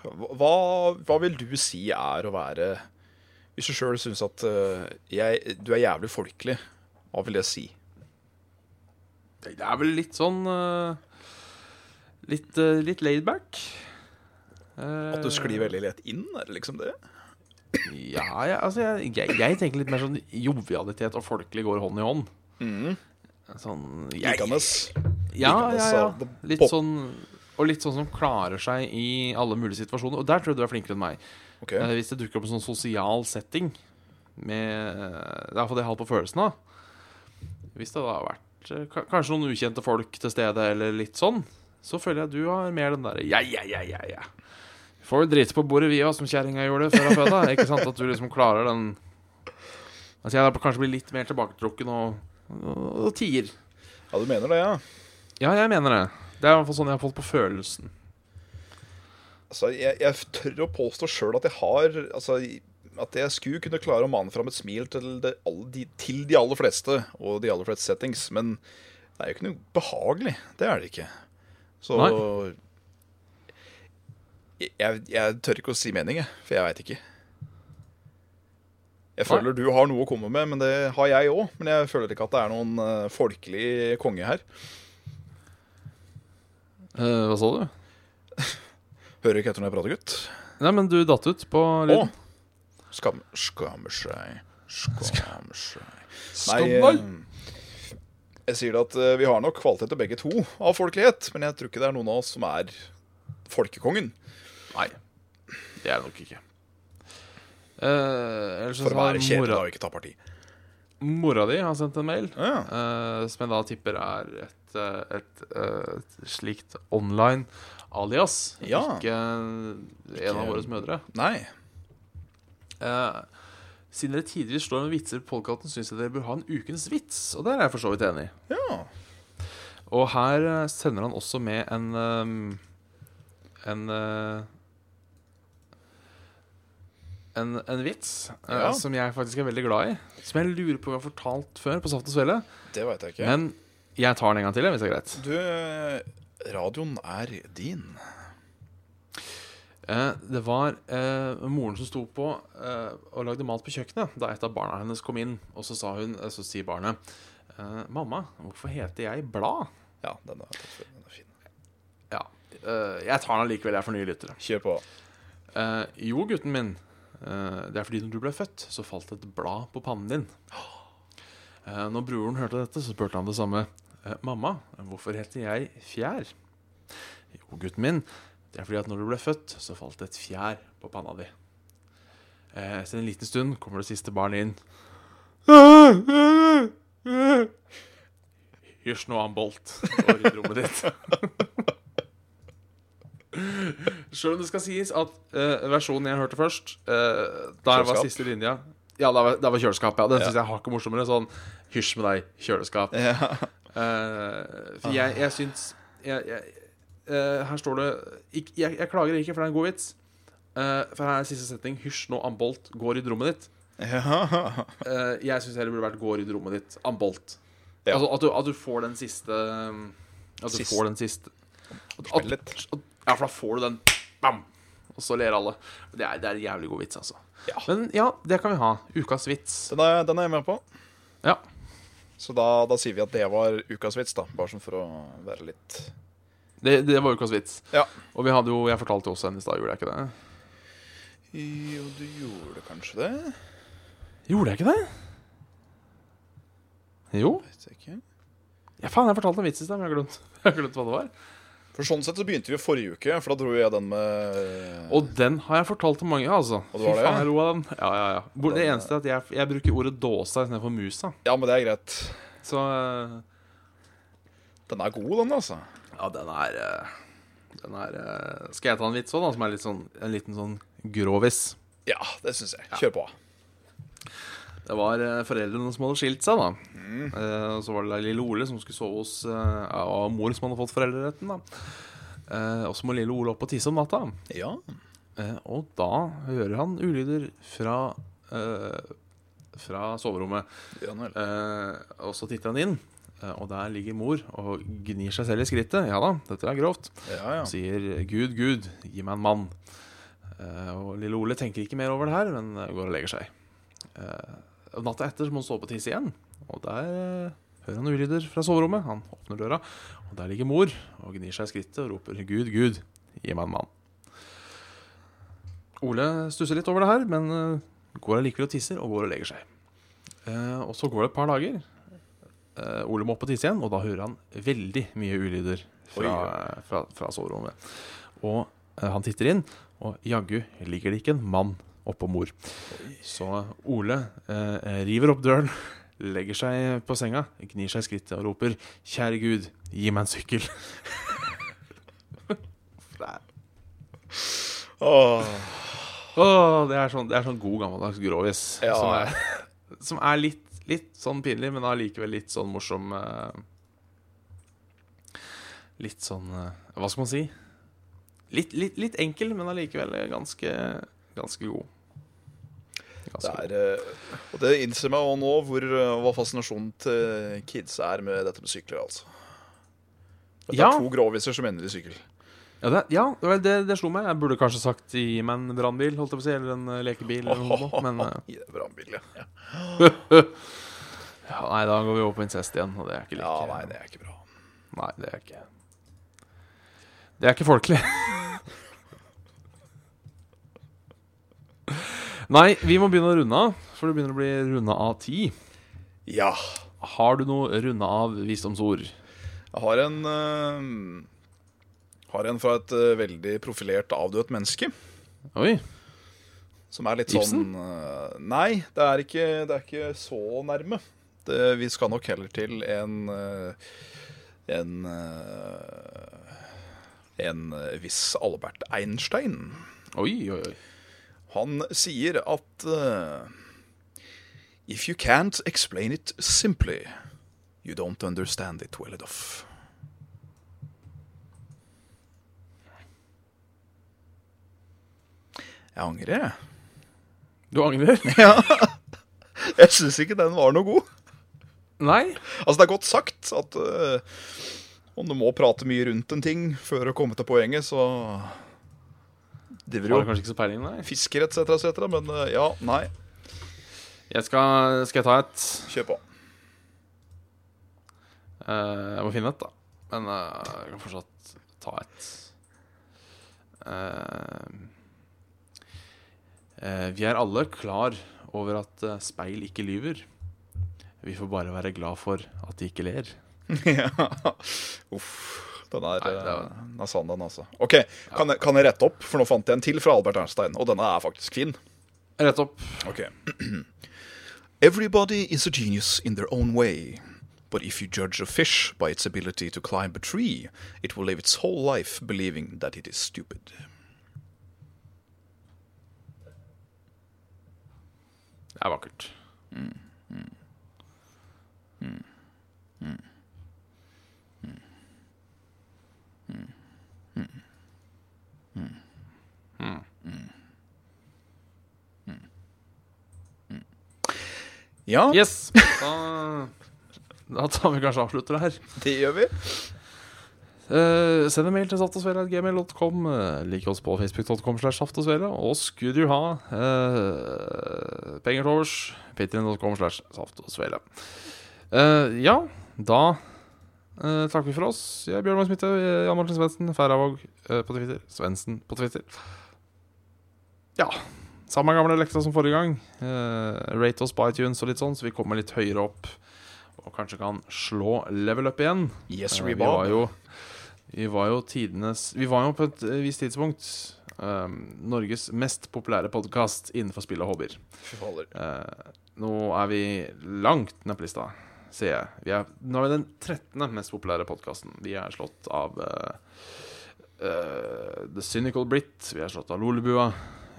B: Hva, hva vil du si er å være Hvis du sjøl syns at eh, jeg, du er jævlig folkelig, hva vil det si?
A: Det er vel litt sånn eh, Litt, uh, litt laidback. Eh,
B: At du sklir veldig lett inn? Er det liksom det?
A: Ja, jeg, altså jeg, jeg, jeg tenker litt mer sånn jovialitet og folkelig går hånd i hånd. Sånn jeg,
B: Likandes.
A: Ja,
B: Likandes
A: ja,
B: av
A: ja.
B: det
A: Litt
B: pop-
A: sånn Og litt sånn som klarer seg i alle mulige situasjoner. Og der tror jeg du er flinkere enn meg.
B: Ok.
A: Eh, Hvis det dukker opp en sånn sosial setting med, eh, Det er iallfall det jeg har på følelsen av. Hvis det da har vært eh, ka- kanskje noen ukjente folk til stede, eller litt sånn, så føler jeg at du har mer den derre ja, ja, ja, ja, ja. Får jo drite på bordet, vi òg, som kjerringa gjorde før jeg fødte. Ikke sant? At du liksom klarer den Altså jeg da kanskje blir litt mer tilbaketrukken og, og, og tier.
B: Ja, du mener det, ja.
A: Ja, jeg mener det. Det er i hvert fall sånn jeg har fått på følelsen.
B: Altså, jeg, jeg tør å påstå sjøl at jeg har Altså, at jeg skulle kunne klare å mane fram et smil til, det, alle de, til de aller fleste, og de aller fleste settings, men det er jo ikke noe behagelig. Det er det ikke. Så jeg, jeg, jeg tør ikke å si mening, jeg, for jeg veit ikke. Jeg
A: Nei.
B: føler du har noe å komme med, men det har jeg òg. Men jeg føler ikke at det er noen eh, folkelig konge her.
A: Eh, hva sa du?
B: Hører ikke etter når jeg prater, gutt.
A: Nei, men du datt ut på
B: Å!
A: lyden.
B: Skam, skammer seg. Skammer seg. Nei,
A: Skandal!
B: eh, jeg sier det at eh, vi har nok kvaliteter begge to av folkelighet, men jeg tror ikke det er noen av oss som er folkekongen.
A: Nei, det er det nok ikke. Eh, ellers så
B: For å være
A: har
B: kjedelig
A: mora,
B: da, og ikke ta parti.
A: mora di har sendt en mail,
B: Ja.
A: eh, som jeg da tipper er et, eh, et, eh, et slikt online alias.
B: Ja.
A: Ikke en av våre mødre.
B: Nei.
A: Eh, Siden dere tidligere slår med vitser på podkasten, syns jeg dere bør ha en ukens vits. Og der er jeg for så vidt enig.
B: Ja.
A: Og her eh, sender han også med en ehm, En eh, en, en vits eh,
B: Ja.
A: som jeg faktisk er veldig glad i. Som jeg lurer på om jeg har fortalt før på Saft og Svele.
B: Det veit jeg ikke.
A: Men jeg tar den en gang til, jeg, hvis det er greit.
B: Du, eh, radioen er din.
A: Eh, det var eh, moren som sto på eh, og lagde mat på kjøkkenet da et av barna hennes kom inn. Og så sa hun, eh, så sier barnet eh, 'Mamma, hvorfor heter jeg Blad?'
B: Ja, den er, tatt før, den er fin.
A: Ja. eh, jeg tar den allikevel, jeg er for nye lyttere.
B: Kjør på.
A: Eh, jo, gutten min. eh, det er fordi når du ble født, så falt et blad på pannen din. Eh, når broren hørte dette, så spurte han det samme. Eh, Mamma, hvorfor heter jeg Fjær? Jo, gutten min. Det er fordi at når du ble født, så falt et fjær på panna di. Eh, etter en liten stund kommer det siste barnet inn. Hysj, nå er han Bolt over i rommet ditt. Sjøl om det skal sies at eh, versjonen jeg hørte først eh, Der var
B: Kjøleskap.
A: siste linja Ja, der var, der var kjøleskap, ja. Den
B: Ja.
A: synes syns jeg har ikke morsommere. Sånn hysj med deg, kjøleskap.
B: Ja.
A: Eh, for jeg, jeg syns jeg, jeg, eh, Her står det ikk- jeg, jeg klager ikke, for det er en god vits. Eh, for her er siste setning. Hysj nå, Ambolt. Gå og rydd rommet ditt.
B: ja.
A: Eh, jeg syns heller burde vært gå og rydd rommet ditt. Ambolt.
B: Ja.
A: Altså, at, du, at du får den siste um, At du
B: Sist-
A: får den siste at,
B: Smell
A: at,
B: litt.
A: at, Ja, for da får du den. Bam! Og så ler alle. Det er, det er en jævlig god vits, altså.
B: Ja.
A: Men ja, det kan vi ha. Ukas vits.
B: Den er, den er jeg med på.
A: Ja.
B: Så da, da sier vi at det var ukas vits, da. Bare sånn for å være litt
A: Det, det var ukas vits.
B: Ja.
A: Og vi hadde jo Jeg fortalte jo også en i stad, gjorde jeg ikke det?
B: Jo, du gjorde kanskje det?
A: Gjorde jeg ikke det? Jo.
B: Vet jeg ikke.
A: Ja, faen, jeg fortalte en vits i sted, men jeg har glemt, jeg har glemt hva det var.
B: For sånn sett så begynte vi jo forrige uke, for da dro jeg den med
A: Og den har jeg fortalt til mange, altså.
B: Og det var det,
A: faen,
B: ja?
A: jeg lo av den. Ja, ja, ja. Hvor, det
B: Den,
A: eneste er at jeg, jeg bruker ordet dåsa istedenfor musa.
B: Ja, men det er greit.
A: Så eh,
B: Den er god, den, altså.
A: Ja, den er eh, Den er eh, Skal jeg ta en vits òg, da, som er litt sånn, en liten sånn grovis?
B: Ja, det syns jeg. Kjør på.
A: Det var eh, foreldrene som hadde skilt seg, da. Eh, og så var det da lille Ole som skulle sove hos eh, av mor som hadde fått foreldreretten, da. Eh, og så må lille Ole opp og tisse om natta.
B: Ja.
A: Eh, og da hører han ulyder fra eh, fra soverommet.
B: ja vel.
A: Eh, og så titter han inn, eh, og der ligger mor og gnir seg selv i skrittet. Ja da, dette er grovt.
B: Ja, ja.
A: Og sier 'Gud, Gud, gi meg en mann'. Eh, og lille Ole tenker ikke mer over det her, men eh, går og legger seg. Eh, og natta etter så må han stå opp og tisse igjen, og der eh, hører han ulyder fra soverommet. Han åpner døra, og der ligger mor og gnir seg i skrittet og roper 'Gud, Gud, gi meg en mann'. Ole stusser litt over det her, men eh, går allikevel og tisser, og går og legger seg. Eh, og så går det et par dager. Eh, Ole må opp og tisse igjen, og da hører han veldig mye ulyder fra, eh, fra, fra soverommet. Og eh, han titter inn, og jaggu ligger det ikke en mann oppå mor. Så Ole eh, river opp døren, legger seg på senga, gnir seg i skrittet og roper 'Kjære Gud, gi meg en sykkel'. det, er,
B: Åh.
A: åh, det, er sånn, det er sånn god gammeldags grovis.
B: Ja.
A: Som, er, som er litt, litt sånn pinlig, men allikevel litt sånn morsom eh, Litt sånn eh, Hva skal man si? Litt, litt, litt enkel, men allikevel ganske, ganske god.
B: Det
A: Ganske god.
B: er, eh, og det innser meg også nå hvor, eh, hva fascinasjonen til kids er med dette med sykler. altså. For Det
A: Ja.
B: er to gråviser som ender i sykkel.
A: Ja, det, ja, det, var- det, det slo meg. Jeg burde kanskje sagt 'gi meg en brannbil', holdt jeg på å si, eller en eh, lekebil, eller noe sånt, men eh,
B: I det brannbilen, ja.
A: ja, Nei, da går vi over på incest igjen, og det er ikke like
B: ja, nei, det er ikke bra.
A: Nei, det er ikke Det er ikke folkelig. Nei, vi må begynne å runde av, for det begynner å bli runda av ti.
B: Ja.
A: Har du noe runda av visdomsord?
B: Jeg har en, eh, har en fra et eh, veldig profilert avdødt menneske.
A: Oi.
B: Som er litt
A: Ibsen?
B: sånn eh, Nei, det er ikke, det er ikke så nærme. Det, vi skal nok heller til en eh, En eh, En eh, viss Albert Einstein.
A: Oi, oi, oi.
B: Han sier at eh, If you can't explain it simply, you don't understand it well enough. Jeg angrer, jeg.
A: Du angrer?
B: Jeg syns ikke den var noe god.
A: Nei.
B: Altså, det er godt sagt at eh, om du må prate mye rundt en ting for å komme til poenget, så
A: Du
B: driver
A: har
B: jo
A: kanskje ikke så peiling, nei.
B: fisker etc., etc., men eh, ja, nei,
A: Jeg skal, skal jeg ta et
B: kjør på.
A: eh, Jeg må finne et, da. Men eh, jeg kan fortsatt ta et. Eh, eh, vi er alle klar over at eh, speil ikke lyver. Vi får bare være glad for at de ikke ler.
B: ja. Uff. Den er,
A: Nei, det
B: eh,
A: var-
B: den er sann, den, altså. OK, kan, jeg, kan jeg rette opp? For nå fant jeg en til fra Albert Ernstein, og denne er faktisk fin.
A: Rett opp.
B: Ok. Everybody is a genius in their own way. But if you judge a fish by its ability to climb a tree, it will live its whole life believing that it is stupid.
A: Det er vakkert.
B: Ja,
A: Yes! Da, da tar vi kanskje avslutter det her.
B: det gjør vi.
A: Eh, send en mail til saftosvele.gmail.com. eh, Lik oss på facebook.com slash saftosvele. Og skulle du ha eh, penger til overs, patrion.com slash saftosvele. Eh, ja, da eh, takker vi for oss. Jeg er Bjørn Magnus Midthaug, eh, Jan Martin Svendsen, Færavåg eh, på Twitter. Svendsen på Twitter. Ja. Samme gamle leksa som forrige gang. Eh, rate oss på iTunes og litt sånn, så vi kommer litt høyere opp. Og kanskje kan slå level up igjen.
B: Yes,
A: Eh,
B: we
A: vi var
B: bob.
A: jo Vi var jo tidenes Vi var jo på et eh, visst tidspunkt eh, Norges mest populære podkast innenfor spill og hobbyer.
B: Fy fader.
A: Eh, nå er vi langt nede på lista, ser jeg. Vi er, nå er vi den 13. mest populære podkasten. Vi er slått av eh, eh, The Cynical Brit, vi er slått av Lolebua,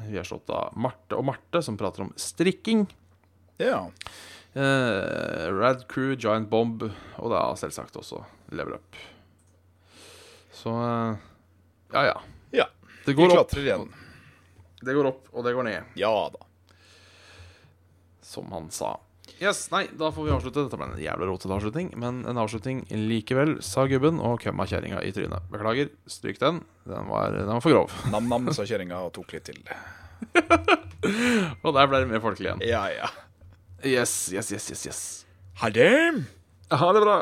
A: vi er slått av Marte og Marte, som prater om strikking.
B: Ja.
A: Eh, Rad Crew, Giant Bomb og da selvsagt også Level Up. Så eh, ja, ja.
B: Ja,
A: Det
B: Vi
A: går opp,
B: klatrer igjen.
A: det går opp, og det går ned,
B: Ja da.
A: som han sa. Yes, nei, da får vi avslutte. Dette ble en jævla rotete avslutning, men en avslutning likevel, sa gubben og kømma kjerringa i trynet. Beklager, stryk den. Den var, den var for grov.
B: Nam-nam, sa kjerringa og tok litt til.
A: Og der ble det mer folkelig igjen.
B: Ja, ja.
A: Yes, yes, yes, yes. yes.
B: Ha det!
A: Ha det bra.